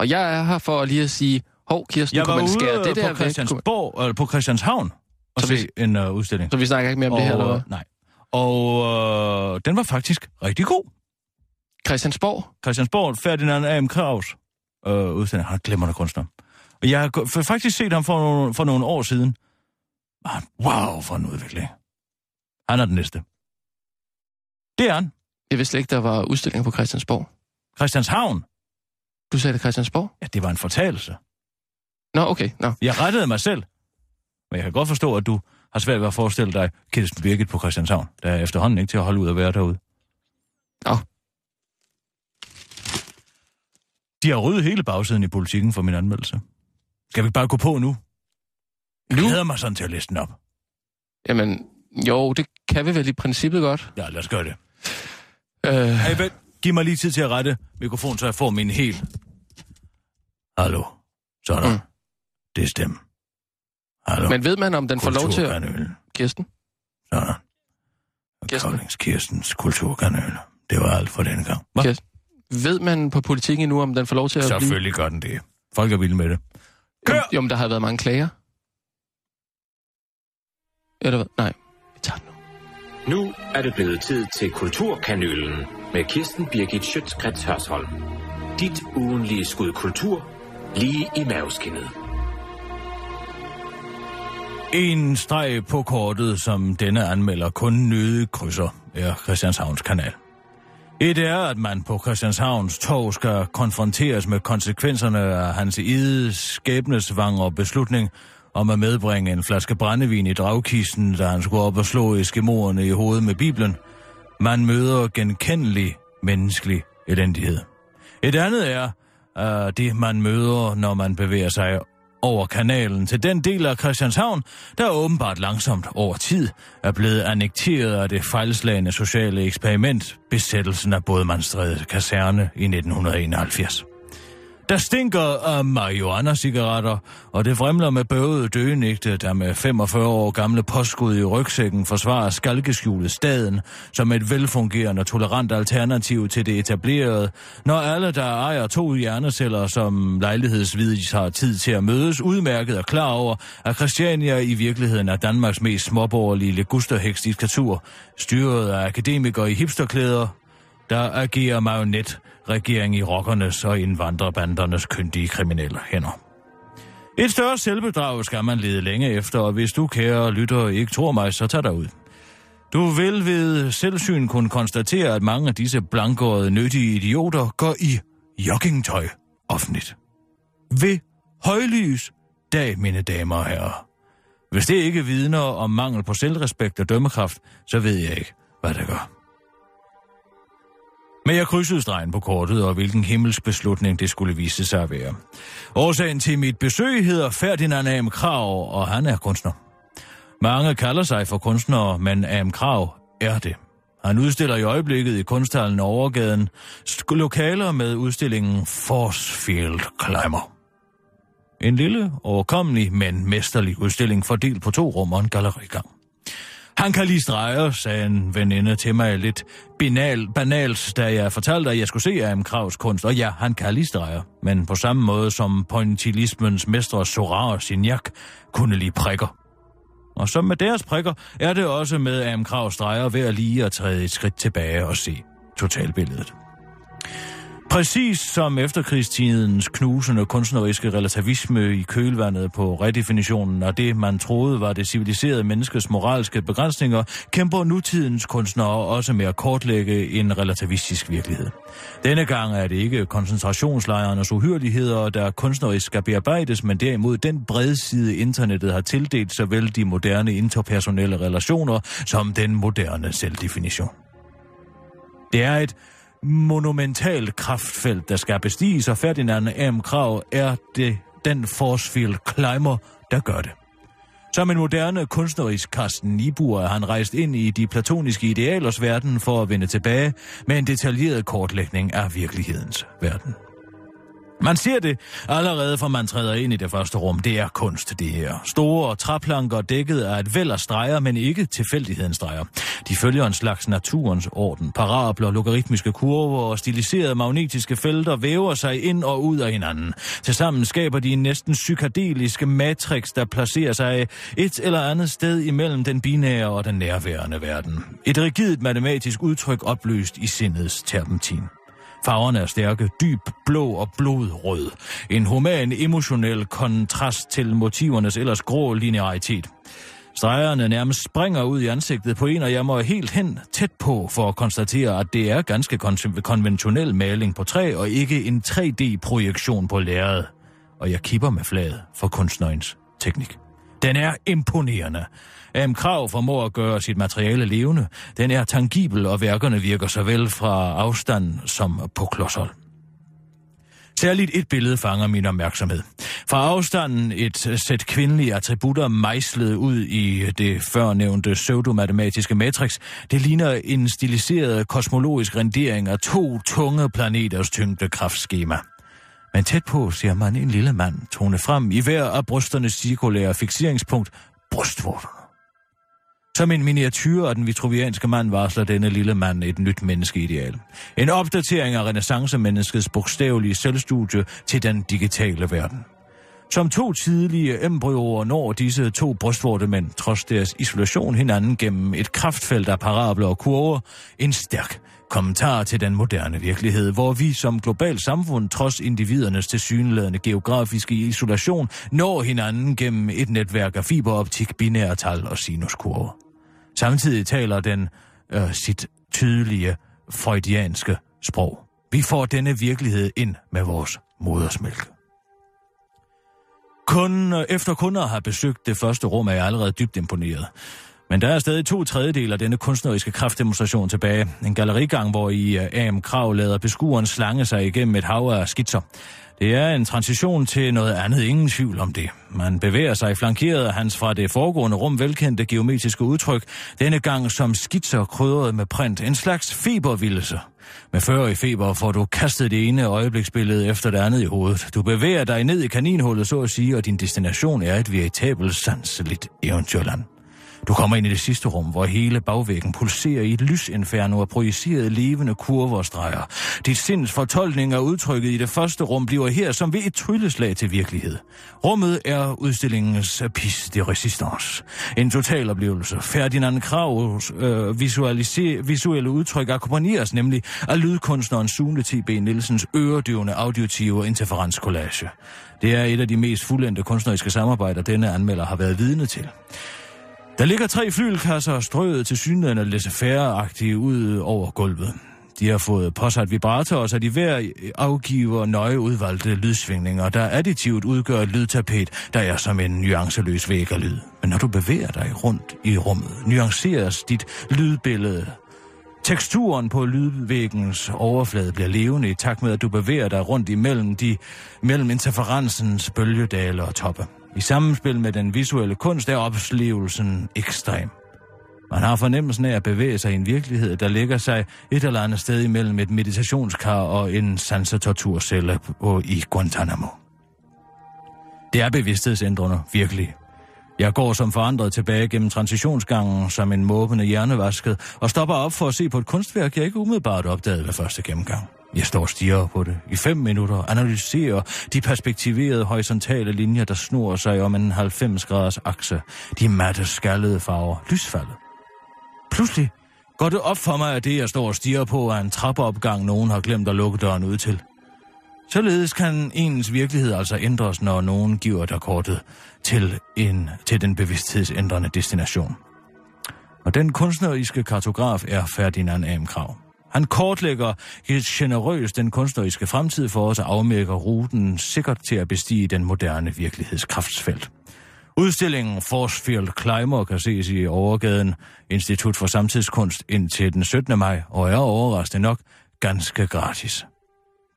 Speaker 5: Og jeg er her for lige at sige, hov Kirsten,
Speaker 4: Jeg
Speaker 5: kunne
Speaker 4: var
Speaker 5: man skære
Speaker 4: ude
Speaker 5: det
Speaker 4: det
Speaker 5: der
Speaker 4: på
Speaker 5: væk? Kunne-
Speaker 4: Christiansborg, eller på Christianshavn, og
Speaker 5: Så
Speaker 4: se
Speaker 5: hvis-
Speaker 4: en uh, udstilling.
Speaker 5: Så vi snakker ikke mere om
Speaker 4: og,
Speaker 5: det her, eller hvad?
Speaker 4: øh, Nej. Og øh, den var faktisk rigtig god.
Speaker 5: Christiansborg?
Speaker 4: Christiansborg, Ferdinand A.M. Kraus, øh, udstilling. Han er en glimrende kunstner. Og jeg har gå- for- faktisk set ham for nogle, for nogle år siden. Man, wow, for en udvikling. Han er den næste. Det er han.
Speaker 5: Jeg vidste slet ikke, der var udstillinger på Christiansborg.
Speaker 4: Christianshavn.
Speaker 5: Du sagde det Christiansborg?
Speaker 4: Ja, det var en fortalelse.
Speaker 5: Nå, okay. Nå.
Speaker 4: Jeg rettede mig selv. Men jeg kan godt forstå, at du har svært ved at forestille dig Kirsten Birgit på Christianshavn. Der er efterhånden ikke til at holde ud at være derude.
Speaker 5: Nå.
Speaker 4: De har ryddet hele bagsiden i politikken for min anmeldelse. Skal vi ikke bare gå på nu? Jeg
Speaker 5: Nu?
Speaker 4: glæder mig sådan til at læse den op.
Speaker 5: Jamen, jo, det kan vi vel i princippet godt.
Speaker 4: Ja, lad os gøre det.
Speaker 5: Øh,
Speaker 4: Hey, vent. Giv mig lige tid til at rette mikrofonen, så jeg får min helt. Hallo. Sådan. Mm.
Speaker 5: Mm.
Speaker 4: Det er stemmen. Hallo.
Speaker 5: men ved man, om den får lov til at...
Speaker 4: Kulturkanalen.
Speaker 5: Kirsten?
Speaker 4: Sådan.
Speaker 5: Kirsten.
Speaker 4: Karlings Kirstens kulturkanal. Det var alt for denne gang. Hva?
Speaker 5: Kirsten, Ved man på politikken endnu, om den får lov til at blive...
Speaker 4: Selvfølgelig gør den det. Folk er vilde med det. Kør!
Speaker 5: Jo, men der har været mange klager. Eller hvad? Nej, vi tager den nu.
Speaker 10: Nu er det blevet tid til Kulturkanylen med Kirsten Birgit Schøtzgrads Hørsholm. Dit ugenlige skud kultur lige i maveskinnet.
Speaker 4: En streg på kortet, som denne anmelder kun nøde krydser, er Christianshavns kanal. Et er, at man på Christianshavns tog skal konfronteres med konsekvenserne af hans ide, skæbnesvang og beslutning om at medbringe en flaske brændevin i dragkisten, da han skulle op og slå eskimoerne i hovedet med Bibelen. Man møder genkendelig menneskelig elendighed. Et andet er øh, det, man møder, når man bevæger sig over kanalen til den del af Christianshavn, der åbenbart langsomt over tid er blevet annekteret af det fejlslagende sociale eksperiment, besættelsen af Bådmandstræde kaserne i 1971. Der stinker af marihuana-cigaretter, og det fremler med bøvede døgenægte, der med 45 år gamle påskud i rygsækken forsvarer skalkeskjulet staden som et velfungerende og tolerant alternativ til det etablerede, når alle, der ejer to hjerneceller, som lejlighedsvidis har tid til at mødes, udmærket og klar over, at Christiania i virkeligheden er Danmarks mest småborgerlige legusterhæks diktatur, styret af akademikere i hipsterklæder, der agerer marionet regering i rockernes og indvandrerbandernes kyndige kriminelle hænder. Et større selvbedrag skal man lede længe efter, og hvis du, kære lytter, ikke tror mig, så tag dig ud. Du vil ved selvsyn kunne konstatere, at mange af disse blankårede, nyttige idioter går i joggingtøj offentligt. Ved højlys dag, mine damer og herrer. Hvis det ikke vidner om mangel på selvrespekt og dømmekraft, så ved jeg ikke, hvad det gør. Men jeg krydsede stregen på kortet, og hvilken himmelsbeslutning det skulle vise sig at være. Årsagen til mit besøg hedder Ferdinand A.M. Krav, og han er kunstner. Mange kalder sig for kunstnere, men A.M. Krav er det. Han udstiller i øjeblikket i kunsthallen Overgaden sk- lokaler med udstillingen Force Field Climber. En lille, overkommelig, men mesterlig udstilling fordelt på to rum og en gallerigang. Han kan lige streger, sagde en veninde til mig lidt banal, banalt, da jeg fortalte, at jeg skulle se A.M. Kravs kunst. Og ja, han kan lige streger. Men på samme måde som pointillismens mestre Sora og Signac kunne lige prikker. Og som med deres prikker, er det også med A.M. Kravs streger ved at lige at træde et skridt tilbage og se totalbilledet. Præcis som efterkrigstidens knusende kunstneriske relativisme i kølvandet på redefinitionen af det, man troede var det civiliserede menneskes moralske begrænsninger, kæmper nutidens kunstnere også med at kortlægge en relativistisk virkelighed. Denne gang er det ikke koncentrationslejrenes uhyrligheder, der kunstnerisk skal bearbejdes, men derimod den bredside internettet har tildelt såvel de moderne interpersonelle relationer som den moderne selvdefinition. Det er et monumentalt kraftfelt, der skal bestiges, og Ferdinand M. Krav er det den Forsfield Climber, der gør det. Som en moderne kunstnerisk Karsten Niebuhr er han rejst ind i de platoniske idealers verden for at vende tilbage med en detaljeret kortlægning af virkelighedens verden. Man ser det allerede, fra man træder ind i det første rum. Det er kunst, det her. Store træplanker dækket af et væld af streger, men ikke tilfældighedens streger. De følger en slags naturens orden. Parabler, logaritmiske kurver og stiliserede magnetiske felter væver sig ind og ud af hinanden. Tilsammen skaber de en næsten psykadeliske matrix, der placerer sig et eller andet sted imellem den binære og den nærværende verden. Et rigidt matematisk udtryk opløst i sindets terpentin. Farverne er stærke, dyb blå og blodrød. En human emotionel kontrast til motivernes ellers grå linearitet. Stregerne nærmest springer ud i ansigtet på en, og jeg må helt hen tæt på for at konstatere, at det er ganske kon- konventionel maling på træ, og ikke en 3D-projektion på lærredet. Og jeg kipper med flaget for kunstnerens teknik. Den er imponerende. AM Krav formår at gøre sit materiale levende. Den er tangibel, og værkerne virker såvel fra afstand som på klodshold. Særligt et billede fanger min opmærksomhed. Fra afstanden et sæt kvindelige attributter mejslet ud i det førnævnte pseudomatematiske matrix. Det ligner en stiliseret kosmologisk rendering af to tunge planeters tyngdekraftskema. Men tæt på ser man en lille mand tone frem i hver af brysternes cirkulære fixeringspunkt, brystvorterne. Som en miniatyr af den vitruvianske mand varsler denne lille mand et nyt menneskeideal. En opdatering af renaissancemenneskets bogstavelige selvstudie til den digitale verden. Som to tidlige embryoer når disse to brystvortemænd, trods deres isolation hinanden gennem et kraftfelt af parabler og kurver, en stærk kommentar til den moderne virkelighed, hvor vi som globalt samfund, trods individernes tilsyneladende geografiske isolation, når hinanden gennem et netværk af fiberoptik, binære tal og sinuskurver. Samtidig taler den øh, sit tydelige freudianske sprog. Vi får denne virkelighed ind med vores modersmælk. Kun øh, efter kun at have besøgt det første rum, er jeg allerede dybt imponeret. Men der er stadig to tredjedel af denne kunstneriske kraftdemonstration tilbage. En gallerigang, hvor i øh, AM Krav lader beskueren slange sig igennem et hav af skitser. Det er en transition til noget andet, ingen tvivl om det. Man bevæger sig flankeret af hans fra det foregående rum velkendte geometriske udtryk, denne gang som skitser krydret med print, en slags febervildelse. Med før i feber får du kastet det ene øjebliksbillede efter det andet i hovedet. Du bevæger dig ned i kaninhullet, så at sige, og din destination er et veritabelt sanseligt eventyrland. Du kommer ind i det sidste rum, hvor hele bagvæggen pulserer i et lysinferno af projicerede levende kurver og streger. Dit sinds fortolkning af udtrykket i det første rum bliver her som ved et trylleslag til virkelighed. Rummet er udstillingens pis de resistance. En total oplevelse. Ferdinand Kraus øh, visualiser- visuelle udtryk akkompagneres nemlig af lydkunstneren Sune T.B. Nielsens øredøvende audiotive interferenscollage. Det er et af de mest fuldendte kunstneriske samarbejder, denne anmelder har været vidne til. Der ligger tre flylkasser strøget til synligheden og laissez-faire-agtige ud over gulvet. De har fået påsat vibratorer, så de hver afgiver nøje udvalgte lydsvingninger, der additivt udgør et lydtapet, der er som en nuanceløs væg af lyd. Men når du bevæger dig rundt i rummet, nuanceres dit lydbillede. Teksturen på lydvæggens overflade bliver levende i takt med, at du bevæger dig rundt imellem de, mellem interferensens bølgedale og toppe. I samspil med den visuelle kunst er oplevelsen ekstrem. Man har fornemmelsen af at bevæge sig i en virkelighed, der ligger sig et eller andet sted imellem et meditationskar og en sansetorturcelle på- i Guantanamo. Det er bevidsthedsændrende, virkelig. Jeg går som forandret tilbage gennem transitionsgangen som en måbende hjernevasket og stopper op for at se på et kunstværk, jeg ikke umiddelbart opdagede ved første gennemgang. Jeg står og stiger på det i fem minutter og analyserer de perspektiverede horisontale linjer, der snor sig om en 90-graders akse. De matte skallede farver, lysfaldet. Pludselig går det op for mig, at det, jeg står og stiger på, er en trappeopgang, nogen har glemt at lukke døren ud til. Således kan ens virkelighed altså ændres, når nogen giver dig kortet til, en, til den bevidsthedsændrende destination. Og den kunstneriske kartograf er Ferdinand A.M. Krav. Han kortlægger generøst den kunstneriske fremtid for os og afmærker ruten sikkert til at bestige den moderne virkelighedskraftsfelt. Udstillingen Forsfield Climber kan ses i Overgaden Institut for Samtidskunst indtil den 17. maj, og er overraskende nok ganske gratis.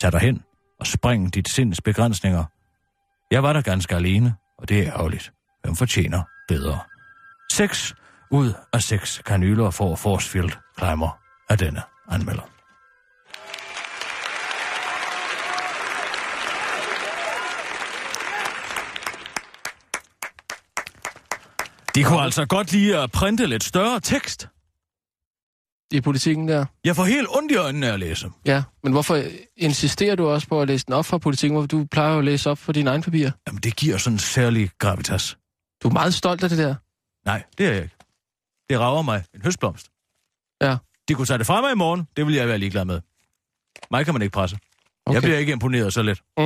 Speaker 4: Tag dig hen og spring dit sinds begrænsninger. Jeg var der ganske alene, og det er ærgerligt. Hvem fortjener bedre? 6 ud af 6 kanyler får Forsfield Climber af denne anmelder. De kunne altså godt lide at printe lidt større tekst.
Speaker 5: I politikken der?
Speaker 4: Jeg får helt ondt i øjnene af at læse.
Speaker 5: Ja, men hvorfor insisterer du også på at læse den op fra politikken? Hvor du plejer jo at læse op for dine egne papirer.
Speaker 4: Jamen, det giver sådan en særlig gravitas.
Speaker 5: Du er meget stolt af det der.
Speaker 4: Nej, det er jeg ikke. Det rager mig en høstblomst.
Speaker 5: Ja.
Speaker 4: De kunne tage det fra mig i morgen, det vil jeg være ligeglad med. Mig kan man ikke presse. Okay.
Speaker 5: Okay.
Speaker 4: Jeg bliver ikke imponeret så let.
Speaker 5: Mm.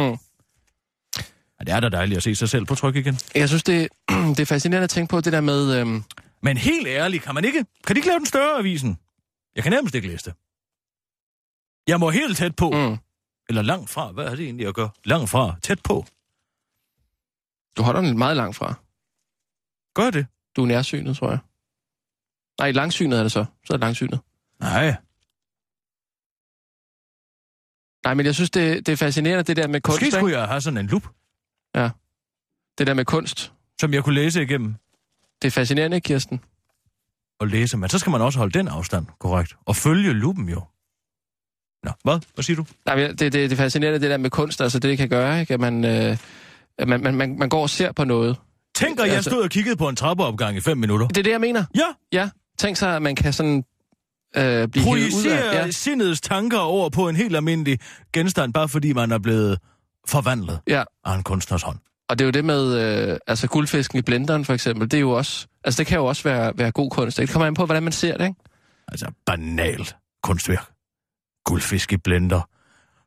Speaker 4: Men det er da dejligt at se sig selv på tryk igen.
Speaker 5: Jeg synes, det, det er fascinerende at tænke på det der med... Øhm,
Speaker 4: Men helt ærligt, kan man ikke? Kan de ikke lave den større avisen? Jeg kan nærmest ikke læse det. Jeg må helt tæt på. Mm.
Speaker 5: mm,
Speaker 4: Eller langt fra. Hvad er det egentlig at gøre? Langt fra. Tæt på.
Speaker 5: du holder den meget langt fra.
Speaker 4: Gør det.
Speaker 5: Du er nærsynet, tror jeg. Nej, langsynet er det så. Så er det langsynet.
Speaker 4: Nej.
Speaker 5: Nej, men jeg synes, det, det er fascinerende, det der med kunst.
Speaker 4: Måske
Speaker 5: ikke?
Speaker 4: skulle jeg have sådan en lup,
Speaker 5: Det der med kunst.
Speaker 4: som jeg kunne læse igennem
Speaker 5: Det er fascinerende, ikke, Kirsten.
Speaker 4: og læse. Men så skal man også holde den afstand, korrekt. Og følge luppen jo. Nå, hvad? Hvad siger du?
Speaker 5: Nej, men det, det, det er fascinerende, det der med kunst, altså det, det kan gøre, ikke? At man, øh, at man, man, man, man går og ser på noget.
Speaker 4: Tænk, at jeg
Speaker 5: Altså-
Speaker 4: stod og kiggede på en trappeopgang i fem minutter.
Speaker 5: Det er det, jeg mener.
Speaker 4: Ja,
Speaker 5: Ja, tænk så, at man kan sådan øh, blive hævet ud af...
Speaker 4: projicere
Speaker 5: Ja,
Speaker 4: ja. sindets tanker over på en helt almindelig genstand, bare fordi man er blevet forvandlet
Speaker 5: ja.
Speaker 4: af en kunstners hånd.
Speaker 5: Og det er jo det med, øh, altså guldfisken i blenderen for eksempel, det er jo også, altså det kan jo også være, være god kunst. ikke? Det kommer an på, hvordan man ser det, ikke?
Speaker 4: Altså banalt kunstværk. Guldfisk i blender.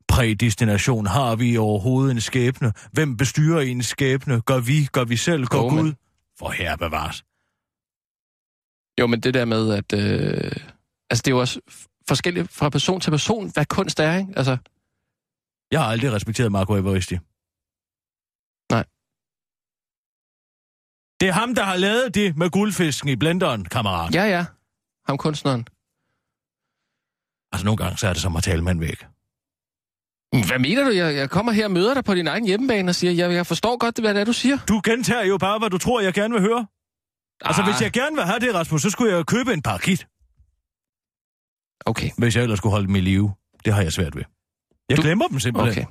Speaker 4: Prædestination har vi overhovedet en skæbne. Hvem bestyrer en skæbne? Gør vi? Gør vi selv? Gør
Speaker 5: Jo, men-
Speaker 4: Gud? For herre bevares.
Speaker 5: Jo, men det der med, at, øh, altså det er jo også f- forskelligt fra person til person, hvad kunst er, ikke? Altså,
Speaker 4: Jeg har aldrig respekteret Marco Evaristi.
Speaker 5: Nej.
Speaker 4: Det er ham, der har lavet det med guldfisken i blenderen, kammerat.
Speaker 5: Ja, ja. Ham kunstneren.
Speaker 4: Altså, nogle gange så er det som at tale med en væg.
Speaker 5: Hvad mener du? Jeg, jeg kommer her og møder dig på din egen hjemmebane og siger, jeg, jeg forstår godt, hvad det er, du siger.
Speaker 4: Du gentager jo bare, hvad du tror, jeg gerne vil høre. Altså,
Speaker 5: Ah.
Speaker 4: hvis jeg gerne vil have det, Rasmus, så skulle jeg jo købe en parakit.
Speaker 5: Okay,
Speaker 4: Hvis jeg ellers skulle holde dem i live. Det har jeg svært ved. Jeg
Speaker 5: Du-
Speaker 4: du... glemmer dem simpelthen.
Speaker 5: okay.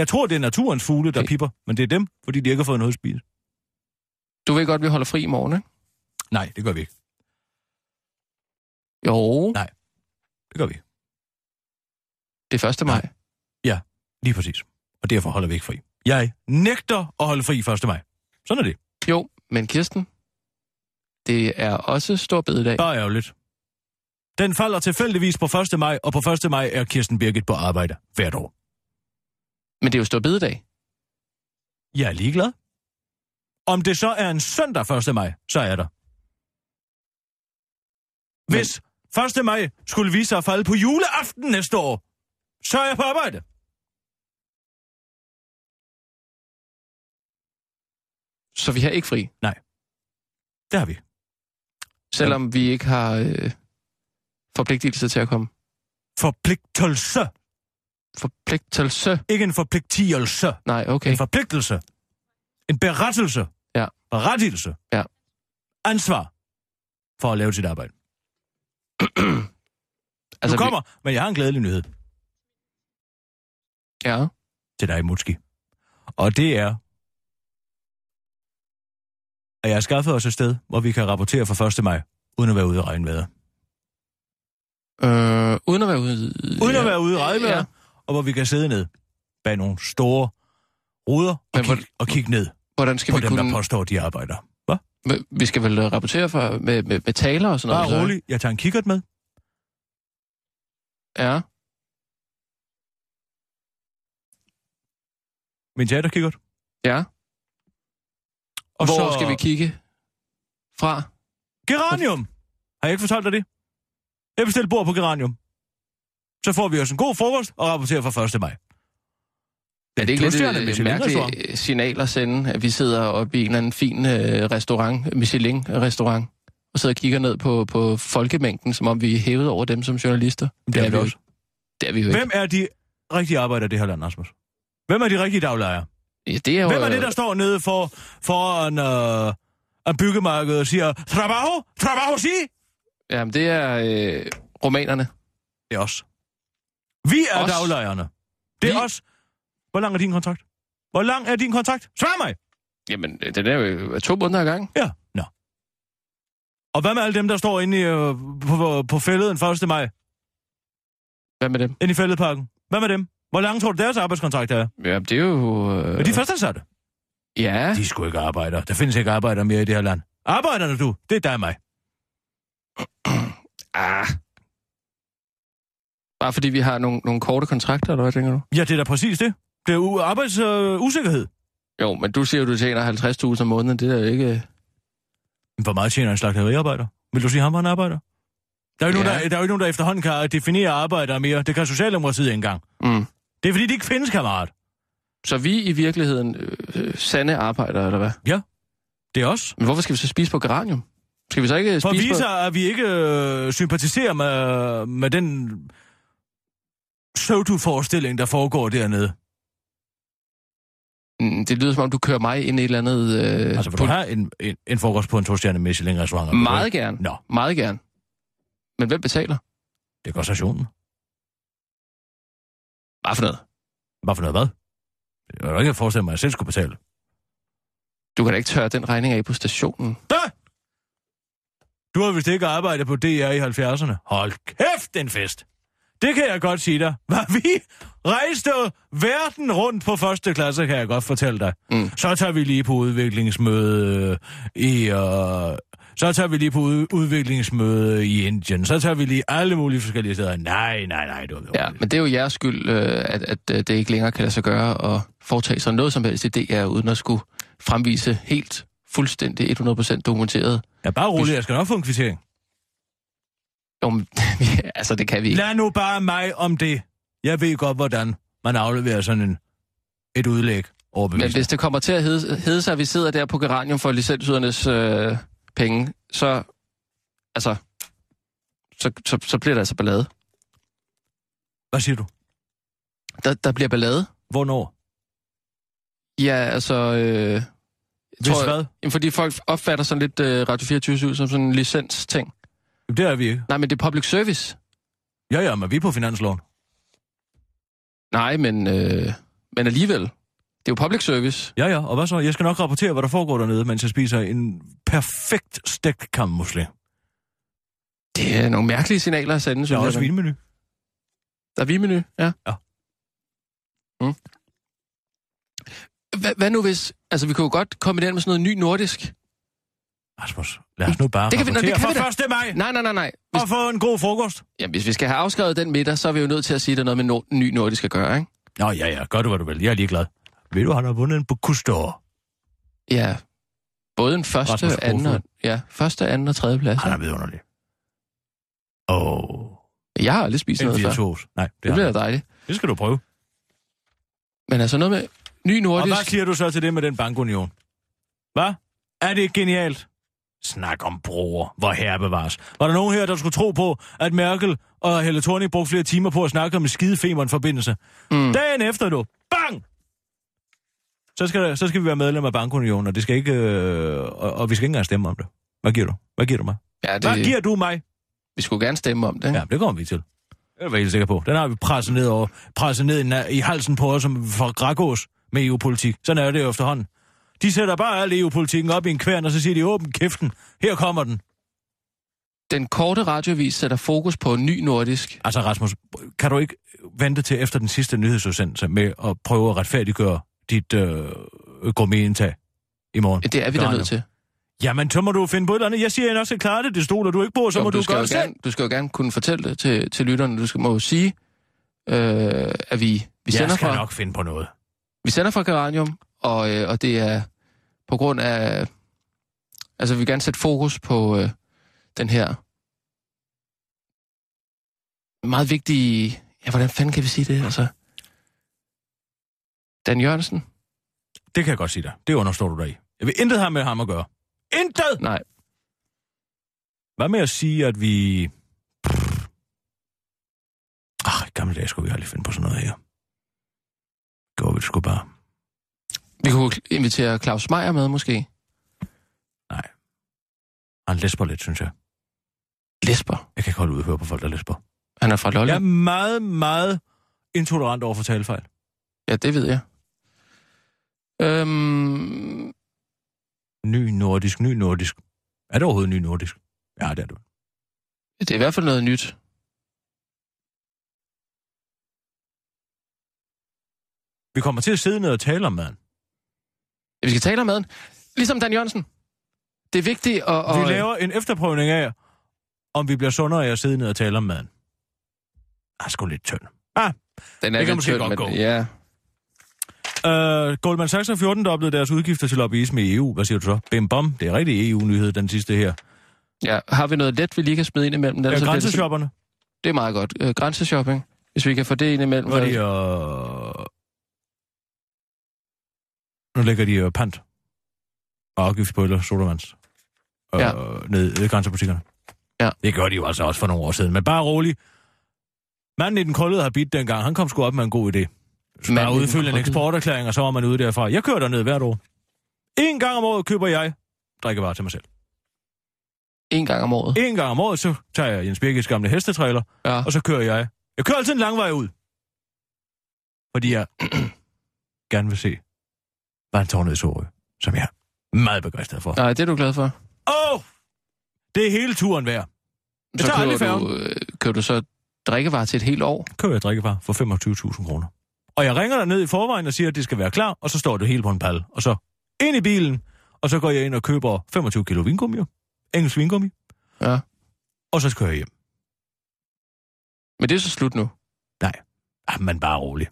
Speaker 4: Jeg tror, det er naturens fugle, der
Speaker 5: Okay.
Speaker 4: okay. pipper, men det er dem, fordi de ikke har fået noget at spise.
Speaker 5: Du ved godt, vi holder fri i morgen, ikke?
Speaker 4: Nej, det gør vi ikke.
Speaker 5: Jo,
Speaker 4: Nej. Det gør vi ikke.
Speaker 5: det er 1. maj.
Speaker 4: Lige præcis. Og derfor holder vi ikke fri. Jeg nægter at holde fri 1. maj. Sådan er det.
Speaker 5: Jo, men Kirsten, det er også stor bededag.
Speaker 4: Bare ærgerligt. Den falder tilfældigvis på 1. maj, og på 1. maj er Kirsten Birgit på arbejde hvert år.
Speaker 5: Men det er jo stor bededag.
Speaker 4: Jeg er ligeglad. Om det så er en søndag 1. maj, så er der. Hvis 1. maj skulle vise sig at falde på juleaften næste år, så er jeg på arbejde.
Speaker 5: Så vi har ikke fri,
Speaker 4: Det har vi.
Speaker 5: selvom vi ikke har øh, forpligtelse til at komme.
Speaker 4: Forpligtelse.
Speaker 5: Forpligtelse?
Speaker 4: Ikke en forpligtigelse.
Speaker 5: Nej, okay.
Speaker 4: En forpligtelse. En berettelse.
Speaker 5: Ja.
Speaker 4: Berettelse.
Speaker 5: Ja.
Speaker 4: Ansvar for at lave sit arbejde. Altså,
Speaker 5: Altså, vi-
Speaker 4: nu kommer, vi... men jeg har en glædelig nyhed
Speaker 5: Ja.
Speaker 4: til dig, Mutski. Og det er, at jeg har skaffet os et sted, hvor vi kan rapportere fra 1. maj, uden at være ude i regnvejr.
Speaker 5: Øh, uden at være ude...
Speaker 4: Uden
Speaker 5: ja.
Speaker 4: at være ude i regnvejr,
Speaker 5: Ja.
Speaker 4: ja. og hvor vi kan sidde ned bag nogle store ruder og,
Speaker 5: Men hvor-
Speaker 4: kigge, og kigge ned
Speaker 5: Hvordan skal
Speaker 4: på
Speaker 5: vi
Speaker 4: dem, der
Speaker 5: kunne...
Speaker 4: påstår, at de arbejder.
Speaker 5: Hva- Vi skal vel øh, rapportere for, med, med, med taler og sådan noget?
Speaker 4: Bare
Speaker 5: så-
Speaker 4: rolig, jeg tager en kikkert med.
Speaker 5: Ja.
Speaker 4: Min teaterkikkert.
Speaker 5: Ja. Og Hvor så... skal vi kigge fra?
Speaker 4: Geranium! Har jeg ikke fortalt dig det? Jeg bestilte bord på Geranium. Så får vi os en god frokost og rapporterer fra 1. maj.
Speaker 5: Er det ikke lidt
Speaker 4: Tostjerne
Speaker 5: et øh,
Speaker 4: Michelin-restaurant.
Speaker 5: mærkeligt øh, signal at sende, at vi sidder oppe i en eller anden fin øh, restaurant, Michelin-restaurant, og sidder og kigger ned på, på folkemængden, som om vi er hævet over dem som journalister?
Speaker 4: Det er vi
Speaker 5: jo
Speaker 4: også.
Speaker 5: ikke. Det er vi jo ikke.
Speaker 4: Hvem er de rigtige arbejdere i det her land, Rasmus? Hvem er de rigtige daglejere?
Speaker 5: Ja, det er jo,
Speaker 4: Hvem er
Speaker 5: øh,
Speaker 4: det, der står nede for, foran øh, en byggemarked og siger, Trabajo! Trabajo si!
Speaker 5: Jamen, det er øh, romanerne.
Speaker 4: Det er os. Vi er os.
Speaker 5: Os?
Speaker 4: daglejerne. Det er
Speaker 5: Vi-
Speaker 4: os. Hvor lang er din kontrakt? Hvor lang er din kontrakt? Svar mig!
Speaker 5: Jamen, øh, den er jo to måneder ad gang.
Speaker 4: Ja, nå. Og hvad med alle dem, der står inde i, øh, på, på, på fældet den 1. maj,
Speaker 5: Hvad med dem?
Speaker 4: inde i fældeparken? Hvad med dem? Hvor lang tror du deres arbejdskontrakt er?
Speaker 5: Ja, det er jo... Øh,
Speaker 4: Er de fastansatte?
Speaker 5: Ja,
Speaker 4: De skulle ikke arbejde. Der findes ikke arbejdere mere i det her land. Arbejderne du, det er dig og mig.
Speaker 5: ah. Bare fordi vi har nogle, nogle korte kontrakter, eller hvad tænker du?
Speaker 4: Ja, det er da præcis det. Det er u- øh, arbejdsusikkerhed.
Speaker 5: Jo, men du siger jo, du tjener 50.000 om måneden. Det er jo ikke...
Speaker 4: Men Hvor meget tjener en slagteriarbejder? Vil du sige, ham var en arbejder? Der er jo ikke
Speaker 5: Ja.
Speaker 4: nogen, der, der, er jo ikke nogen, der efterhånden kan definere arbejdere mere. Det kan Socialdemokratiet ikke engang.
Speaker 5: Mm.
Speaker 4: Det er fordi, de ikke findes, kammerat.
Speaker 5: Så vi er i virkeligheden øh, øh, sande arbejdere, eller hvad?
Speaker 4: Det er os.
Speaker 5: Men hvorfor skal vi så spise på geranium? Skal vi så ikke
Speaker 4: For at
Speaker 5: spise
Speaker 4: vise,
Speaker 5: på...
Speaker 4: at vi ikke øh, sympatiserer med, med den pseudo-forestilling, der foregår dernede.
Speaker 5: Mm, Det lyder som om, du kører mig ind i et eller andet... Øh,
Speaker 4: Altså, vil du have en, en, en frokost på en to-stjerne Michelin-restaurant? eller
Speaker 5: Meget
Speaker 4: hvad?
Speaker 5: gerne.
Speaker 4: Nå,
Speaker 5: Meget gerne. Men hvem betaler?
Speaker 4: det gør stationen.
Speaker 5: Hvad for noget?
Speaker 4: Hvad for noget hvad? Jeg kan ikke forestille mig, at jeg selv skulle betale.
Speaker 5: Du kan da ikke tørre den regning af på stationen.
Speaker 4: Da! Du har vist ikke arbejdet på DR i 70'erne. Hold kæft, den fest! Det kan jeg godt sige dig. Var vi rejste verden rundt på første klasse, kan jeg godt fortælle dig.
Speaker 5: Mm.
Speaker 4: Så tager vi lige på udviklingsmøde i... Øh, så tager vi lige på ud, udviklingsmøde i Indien. Så tager vi lige alle mulige forskellige steder. Nej, nej, nej, du har
Speaker 5: Ja, men det er jo jeres skyld, øh, at, at øh, det ikke længere kan lade sig gøre at foretage sig noget som helst i DR, uden at skulle fremvise helt fuldstændig 100% dokumenteret.
Speaker 4: ja, bare rolig, jeg skal nok få en kvittering.
Speaker 5: Jo, men, altså, det kan vi ikke.
Speaker 4: Lad nu bare mig om det. Jeg ved godt, hvordan man afleverer sådan en, et udlæg. overbevist.
Speaker 5: Men hvis det kommer til at hedde, hedde sig, at vi sidder der på Geranium for licensydernes øh, penge, så, altså, så, så, så bliver der altså ballade.
Speaker 4: Hvad siger du?
Speaker 5: Der, der bliver ballade.
Speaker 4: Hvornår?
Speaker 5: Ja, altså... Øh,
Speaker 4: Hvis tror, hvad?
Speaker 5: Jamen, fordi folk opfatter sådan lidt øh, Radio 24 som sådan en licens-ting.
Speaker 4: Jamen, det er vi ikke.
Speaker 5: Nej, men det er public service.
Speaker 4: Ja, ja, men vi er på finansloven.
Speaker 5: Nej, men, øh, men alligevel. Det er jo public service.
Speaker 4: Ja, ja, og hvad så? Jeg skal nok rapportere, hvad der foregår dernede, mens jeg spiser en perfekt stegt kammusle.
Speaker 5: Det er nogle mærkelige signaler at sende,
Speaker 4: Der er
Speaker 5: jeg,
Speaker 4: også
Speaker 5: men-
Speaker 4: vinmenu.
Speaker 5: Der er vinmenu, ja.
Speaker 4: Ja.
Speaker 5: Mm. Hva, hvad nu hvis... Altså, vi kunne jo godt kombinere det med sådan noget ny nordisk.
Speaker 4: Rasmus, lad os nu bare
Speaker 5: Det kan vi- nå, det
Speaker 4: rapportere
Speaker 5: kan vi
Speaker 4: fra
Speaker 5: da.
Speaker 4: 1. maj
Speaker 5: Nej, nej, nej, nej. Hvis,
Speaker 4: og få en god frokost.
Speaker 5: jamen, hvis vi skal have afskrevet den middag, så er vi jo nødt til at sige, at der er noget med no, ny nordisk at gøre, ikke?
Speaker 4: Nå, ja, ja, gør du, hvad du vil. Jeg er ligeglad. Ved du, han har vundet en Bukustor.
Speaker 5: Ja. Både en første,
Speaker 4: Rasmus
Speaker 5: anden og,
Speaker 4: Brofeldt.
Speaker 5: ja, første, anden og tredje plads.
Speaker 4: Han er vidunderlig. Og...
Speaker 5: Jeg har aldrig spist
Speaker 4: En
Speaker 5: noget før.
Speaker 4: virtuos. Nej, det,
Speaker 5: Det
Speaker 4: er
Speaker 5: bliver
Speaker 4: det.
Speaker 5: da dejligt.
Speaker 4: det skal du prøve.
Speaker 5: Men altså noget med ny
Speaker 4: Og hvad
Speaker 5: nordisk.
Speaker 4: siger du så til det med den bankunion? Hvad? Er det ikke genialt? Snak om broer, hvor herre bevares. Var der nogen her, der skulle tro på, at Merkel og Helle Thorning brugte flere timer på at snakke om en skidefemeren-forbindelse? Mm. Dagen efter du, bang! Så skal, der, så skal vi være medlem af bankunionen, og, det skal ikke, øh, og, og vi skal ikke engang stemme om det. Hvad giver du? Hvad giver du mig?
Speaker 5: Ja,
Speaker 4: Hvad
Speaker 5: det,
Speaker 4: giver du mig?
Speaker 5: vi skulle gerne stemme om det. ikke?
Speaker 4: Ja, det kommer vi til. Det er jeg helt sikker på. Den har vi presset ned, over, presset ned i na- i halsen på os som fra Grækås med EU-politik. Sådan er det jo efterhånden. De sætter bare al EU-politikken op i en kværn, og så siger de, åben kæften, her kommer den.
Speaker 5: Den korte radiovis sætter fokus på ny nordisk.
Speaker 4: Altså Rasmus, kan du ikke vente til efter den sidste nyhedsudsendelse med at prøve at retfærdiggøre dit øh, gourmetindtag i morgen?
Speaker 5: Ja, Det er vi da
Speaker 4: Geranium.
Speaker 5: nødt til.
Speaker 4: Jamen, så må du finde på et eller andet. Jeg siger, at jeg nok skal klare det. Det stoler du ikke på, så
Speaker 5: Jo,
Speaker 4: må
Speaker 5: men
Speaker 4: du,
Speaker 5: skal
Speaker 4: gøre
Speaker 5: jo
Speaker 4: det selv.
Speaker 5: gerne, Du skal jo gerne kunne fortælle det til, til lytterne. Du skal, må jo sige, øh, at vi, vi,
Speaker 4: Jeg
Speaker 5: sender
Speaker 4: skal
Speaker 5: fra,
Speaker 4: nok finde på noget.
Speaker 5: vi sender fra Geranium, og, øh, og det er på grund af... Altså, vi vil gerne sætte fokus på øh, den her meget vigtige... Ja, hvordan fanden kan vi sige det? Altså, Dan Jørgensen?
Speaker 4: Det kan jeg godt sige dig. Det understår du dig i. Jeg vil intet have med ham at gøre. Intet!
Speaker 5: Nej.
Speaker 4: Hvad med at sige, at vi... Pff. Ah, i gamle dage skulle vi aldrig finde på sådan noget her. Går vi sgu bare.
Speaker 5: Vi kunne invitere Claus Meier med, måske.
Speaker 4: Han læsper lidt, synes jeg.
Speaker 5: Lesber.
Speaker 4: Jeg kan ikke holde ud og høre på folk, der læsper.
Speaker 5: Han er fra Lolland.
Speaker 4: Jeg er meget, meget intolerant over for talefejl.
Speaker 5: Ja, det ved jeg. Øhm,
Speaker 4: Ny nordisk, ny nordisk. Er det overhovedet ny nordisk? Ja, det er det.
Speaker 5: det er i hvert fald noget nyt.
Speaker 4: Vi kommer til at sidde ned og tale om maden.
Speaker 5: Vi skal tale om maden. Ligesom Dan Jørgensen. Det er vigtigt at...
Speaker 4: Vi
Speaker 5: at-
Speaker 4: laver en efterprøvning af, om vi bliver sundere af at sidde ned og tale om maden. Jeg er sgu lidt tynd. Ah,
Speaker 5: den er
Speaker 4: det kan
Speaker 5: lidt
Speaker 4: måske
Speaker 5: tynd,
Speaker 4: godt
Speaker 5: men-
Speaker 4: gå.
Speaker 5: Ja.
Speaker 4: Øh, Goldman Sachs har 14 doblet deres udgifter til lobbyisme i EU. Hvad siger du så? Bim bom, det er rigtig EU-nyhed, den sidste her.
Speaker 5: ja. Har vi noget let, vi lige kan smide ind imellem?
Speaker 4: Ja,
Speaker 5: Ellers så bliver det-
Speaker 4: grænseshopperne,
Speaker 5: Det er meget godt. Øh, grænseshopping. Hvis vi kan få det ind imellem.
Speaker 4: hvor
Speaker 5: hvad-
Speaker 4: de øh... Nu lægger de øh, pant og afgift på eller sodavands øh,
Speaker 5: Ja.
Speaker 4: ja. ned i grænsebutikkerne.
Speaker 5: Ja.
Speaker 4: Det gør de jo altså også for nogle år siden. Men bare rolig. Manden i den koldede har bidt dengang. Han kom sgu op med en god idé. Så
Speaker 5: Manden i
Speaker 4: bare
Speaker 5: den
Speaker 4: udfylde en
Speaker 5: krøllede.
Speaker 4: eksporterklæring, og så var man ude derfra. Jeg kører derned hvert år. En gang om året køber jeg drikkevarer til mig selv.
Speaker 5: En gang om året.
Speaker 4: En gang om året, så tager jeg Jens Birkes gamle hestetræler,
Speaker 5: Ja.
Speaker 4: og så kører jeg. Jeg kører altid en lang vej ud. Fordi jeg gerne vil se vandtårnet i Sorø, som jeg er meget begejstret for.
Speaker 5: Nej, det er du glad for.
Speaker 4: Åh! Oh, det er hele turen værd. Jeg
Speaker 5: Så
Speaker 4: tager aldrig
Speaker 5: køber
Speaker 4: færgen.
Speaker 5: du, øh, køber du så drikkevarer til et helt år.
Speaker 4: Køber jeg drikkevarer for 25.000 kroner. Og jeg ringer ned i forvejen og siger, at det skal være klar, og så står det hele på en pal. Og så ind i bilen, og så går jeg ind og køber 25 kilo vingummi, engelsk vingummi,
Speaker 5: Ja.
Speaker 4: og så kører jeg hjem.
Speaker 5: Men det er så slut nu.
Speaker 4: Ah, men bare rolig.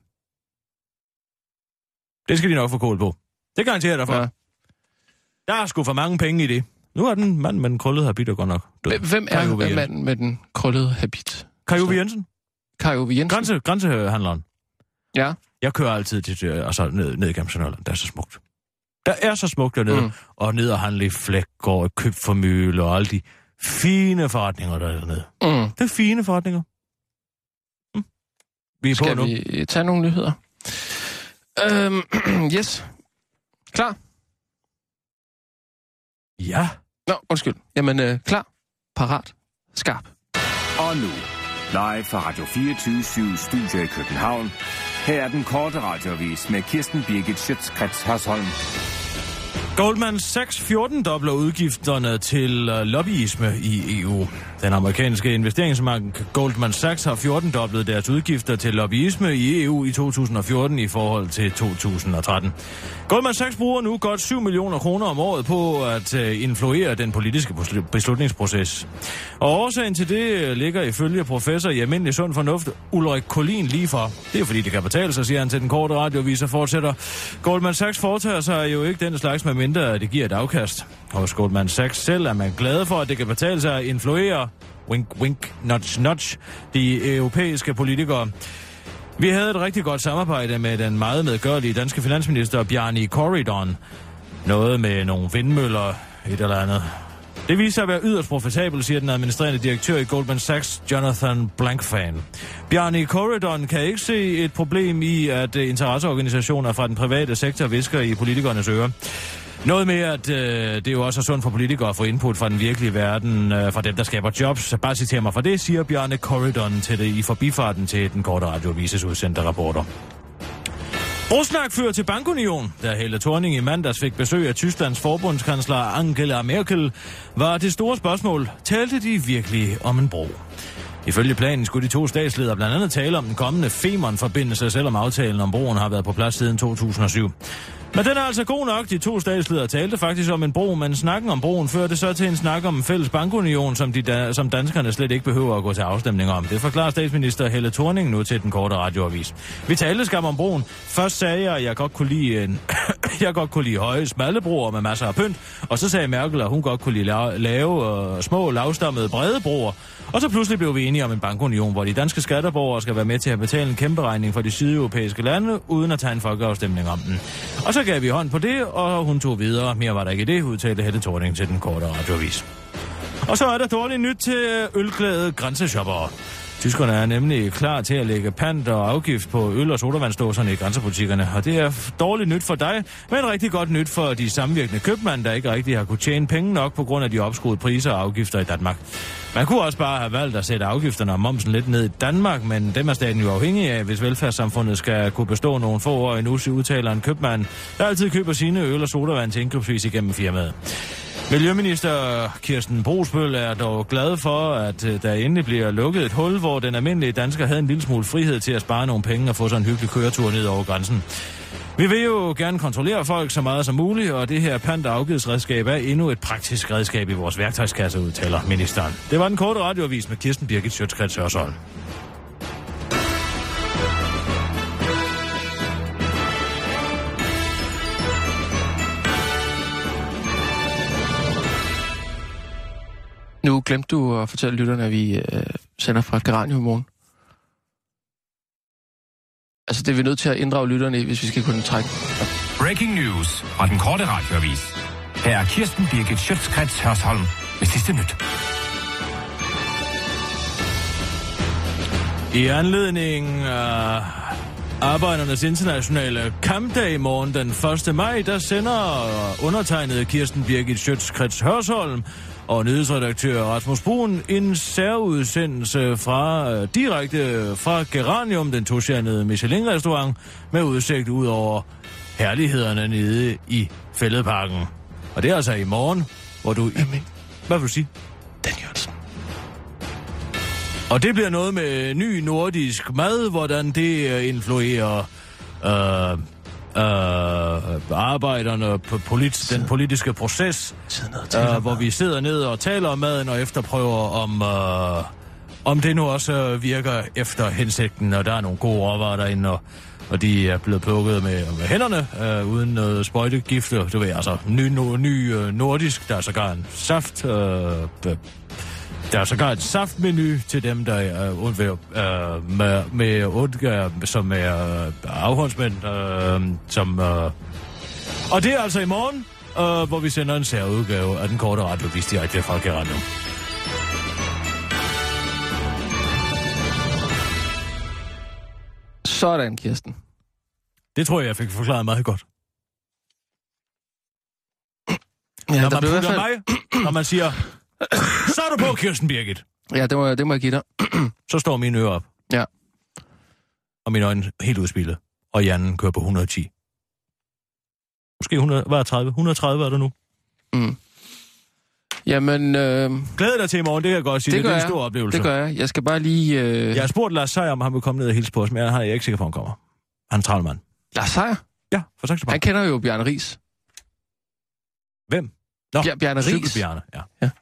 Speaker 4: Det skal de nok få kål på. Det garanterer jeg dig for.
Speaker 5: Ja.
Speaker 4: Ja. Der er sgu for mange penge i det. Nu er den mand med den krøllede habit jo godt nok død.
Speaker 5: Hvem- Hvem
Speaker 4: Kai
Speaker 5: er
Speaker 4: Ove Jensen.
Speaker 5: manden med den krøllede habit?
Speaker 4: Kai Uwe Jensen.
Speaker 5: Kai Ove Jensen.
Speaker 4: Grænse, grænsehandleren.
Speaker 5: Ja. Mm.
Speaker 4: Jeg kører altid til, øh, altså, ned, ned igennem Sønderland. Det er så smukt. Der er så smukt dernede. Mm. Og ned og handle i Flækgård, køb for møle og alle de fine forretninger, der er dernede.
Speaker 5: Mm.
Speaker 4: Det er fine forretninger. Mm. Vi er på
Speaker 5: Skal
Speaker 4: nu.
Speaker 5: vi tage nogle nyheder? Øhm, yes. Klar?
Speaker 4: Ja.
Speaker 5: Nå, undskyld. Jamen, øh, klar, parat, skarp.
Speaker 6: Og nu, live fra Radio 24 Studio i København. Her er den korte radiovis med Kirsten Birgit Schøtzgrads Hasholm.
Speaker 4: Goldman Sachs 14 dobler udgifterne til øh, lobbyisme i EU. Den amerikanske investeringsbank Goldman Sachs har 14 doblet deres udgifter til lobbyisme i EU i 2014 i forhold til 2013. Goldman Sachs bruger nu godt 7 millioner kroner om året på at øh, influere den politiske beslu- beslutningsproces. Og årsagen til det øh, ligger ifølge professor i almindelig sund fornuft Ulrik Collin lige fra. Det er fordi, det kan betale sig, siger han til den korte radiovis og fortsætter. Goldman Sachs foretager sig jo ikke den slags, med mindre at det giver et afkast. Hos Goldman Sachs selv er man glad for, at det kan betale sig at influere, wink, wink, nudge, nudge, de europæiske politikere. Vi havde et rigtig godt samarbejde med den meget medgørlige danske finansminister Bjarni Corridon. Noget med nogle vindmøller, et eller andet. Det viser sig at være yderst profitabel, siger den administrerende direktør i Goldman Sachs, Jonathan Blankfan. Bjarni Corridon kan ikke se et problem i, at øh, interesseorganisationer fra den private sektor visker i politikernes ører. Noget med, at øh, det jo også er sundt for politikere at få input fra den virkelige verden, øh, fra dem, der skaber jobs. Bare citér mig for det, siger Bjarne Corridon til det i forbifarten til den korte radiovises udsendte rapporter. Rusnak fører til bankunion. Da Helle Thorning i mandags fik besøg af Tysklands forbundskansler Angela Merkel, var det store spørgsmål, talte de virkelig om en bro? Ifølge planen skulle de to statsledere blandt andet tale om den kommende Femern-forbindelse, selvom aftalen om broen har været på plads siden 2007. Men den er altså god nok. De to statsledere talte faktisk om en bro, men snakken om broen førte så til en snak om en fælles bankunion, som, de da, som danskerne slet ikke behøver at gå til afstemning om. Det forklarer statsminister Helle Thorning nu til den korte radioavis. Vi talte skam om broen. Først sagde jeg, at jeg godt kunne lide, en jeg godt kunne lide høje, smalle broer med masser af pynt, og så sagde Merkel, at hun godt kunne lide la- lave øh, små, lavstammede, brede broer. Og så pludselig blev vi enige om en bankunion, hvor de danske skatterborgere skal være med til at betale en kæmpe regning for de sydeuropæiske lande, uden at tage en folkeafstemning om den. Og så gav vi hånd på det, og hun tog videre. Mere var der ikke i det, udtalte Helle Thorning til den korte radioavis. Og så er der dårligt nyt til øh, ølglade grænseshoppere. Tyskerne er nemlig klar til at lægge pant og afgift på øl- og sodavandsdåserne i grænsebutikkerne, og det er f- dårligt nyt for dig, men rigtig godt nyt for de samvirkende købmænd, der ikke rigtig har kunne tjene penge nok på grund af de opskruede priser og afgifter i Danmark. Man kunne også bare have valgt at sætte afgifterne og momsen lidt ned i Danmark, men dem er staten jo afhængig af, hvis velfærdssamfundet skal kunne bestå nogle få år endnu, så udtaler en købmand, der altid køber sine øl og sodavand til indkøbsvis igennem firmaet. Miljøminister Kirsten Brosbøl er dog glad for, at øh, der endelig bliver lukket et hul, hvor den almindelige dansker havde en lille smule frihed til at spare nogle penge og få sig en hyggelig køretur ned over grænsen. Vi vil jo gerne kontrollere folk så meget som muligt, og det her pant- og afgidsredskab er endnu et praktisk redskab i vores værktøjskasse, udtaler ministeren. Det var den korte radioavis med Kirsten Birgit Sjøtskrets Hørsholm.
Speaker 5: Nu glemte du at fortælle lytterne, at vi øh, sender fra Geranium i morgen. Altså, det er vi nødt til at inddrage lytterne i, hvis vi skal kunne trække.
Speaker 6: Breaking news fra den korte radiovis. Her er Kirsten Birgit Schøtzgrads Hasholm med sidste nyt.
Speaker 4: I anledning af Arbejdernes Internationale Kampdag i morgen den 1. maj, der sender undertegnede Kirsten Birgit Schøtz-Krets Hørsholm og nyhedsredaktør Rasmus Brun en særudsendelse fra, øh, direkte fra Geranium, den tosjernede Michelin-restaurant, med udsigt ud over herlighederne nede i Fælledparken. Og det er altså i morgen, hvor du... Jamen. Hvad vil du sige?
Speaker 5: Dan Jørgensen.
Speaker 4: Og det bliver noget med ny nordisk mad, hvordan det øh, influerer øh, øh, arbejderne på polit, den politiske proces,
Speaker 5: Sid ned og tal
Speaker 4: øh,
Speaker 5: om
Speaker 4: hvor vi sidder ned og taler om maden og efterprøver om... Øh, om det nu også øh, virker efter hensigten, og der er nogle gode råvarer derinde, og, og de er blevet plukket med, med hænderne, øh, uden noget sprøjtegifte, du ved, altså ny, no, ny øh, nordisk, der er sågar en saft, øh, øh, Der er sågar et saftmenu til dem, der er undvær, øh, med, med undgør, som er øh, afholdsmænd, øh, som... Øh. Og det er altså i morgen, øh, hvor vi sender en særudgave af den korte radiovis direkte fra Gerardo.
Speaker 5: Sådan, Kirsten.
Speaker 4: Det tror jeg, jeg fik forklaret meget godt.
Speaker 5: Ja,
Speaker 4: når,
Speaker 5: der
Speaker 4: man
Speaker 5: blev i
Speaker 4: putter
Speaker 5: hvert fald...
Speaker 4: mig, når man siger, så er du på, Kirsten Birgit,
Speaker 5: Ja, det må, jeg- det må jeg give dig.
Speaker 4: så står mine ører op.
Speaker 5: Ja.
Speaker 4: Og mine øjne helt udspillet. Og hjernen kører på 110. Måske 100, hvad er 30? 130 er der nu.
Speaker 5: Jamen, øh,
Speaker 4: Glæder dig til i morgen, det kan jeg godt sige. Det, det er en stor oplevelse.
Speaker 5: Det gør jeg. Jeg skal bare lige... Øh...
Speaker 4: Jeg har spurgt Lars Seier, om han vil komme ned og hilse på os, men jeg er ikke sikker på, at han kommer. Han er travlmand.
Speaker 5: Lars Seier,
Speaker 4: Ja, for Saxe
Speaker 5: han
Speaker 4: Bank.
Speaker 5: kender jo Bjørn Ries.
Speaker 4: Hvem? Nå,
Speaker 5: Ja, Bjarne Ries.
Speaker 4: Cykelbjarne, ja.
Speaker 5: Ja.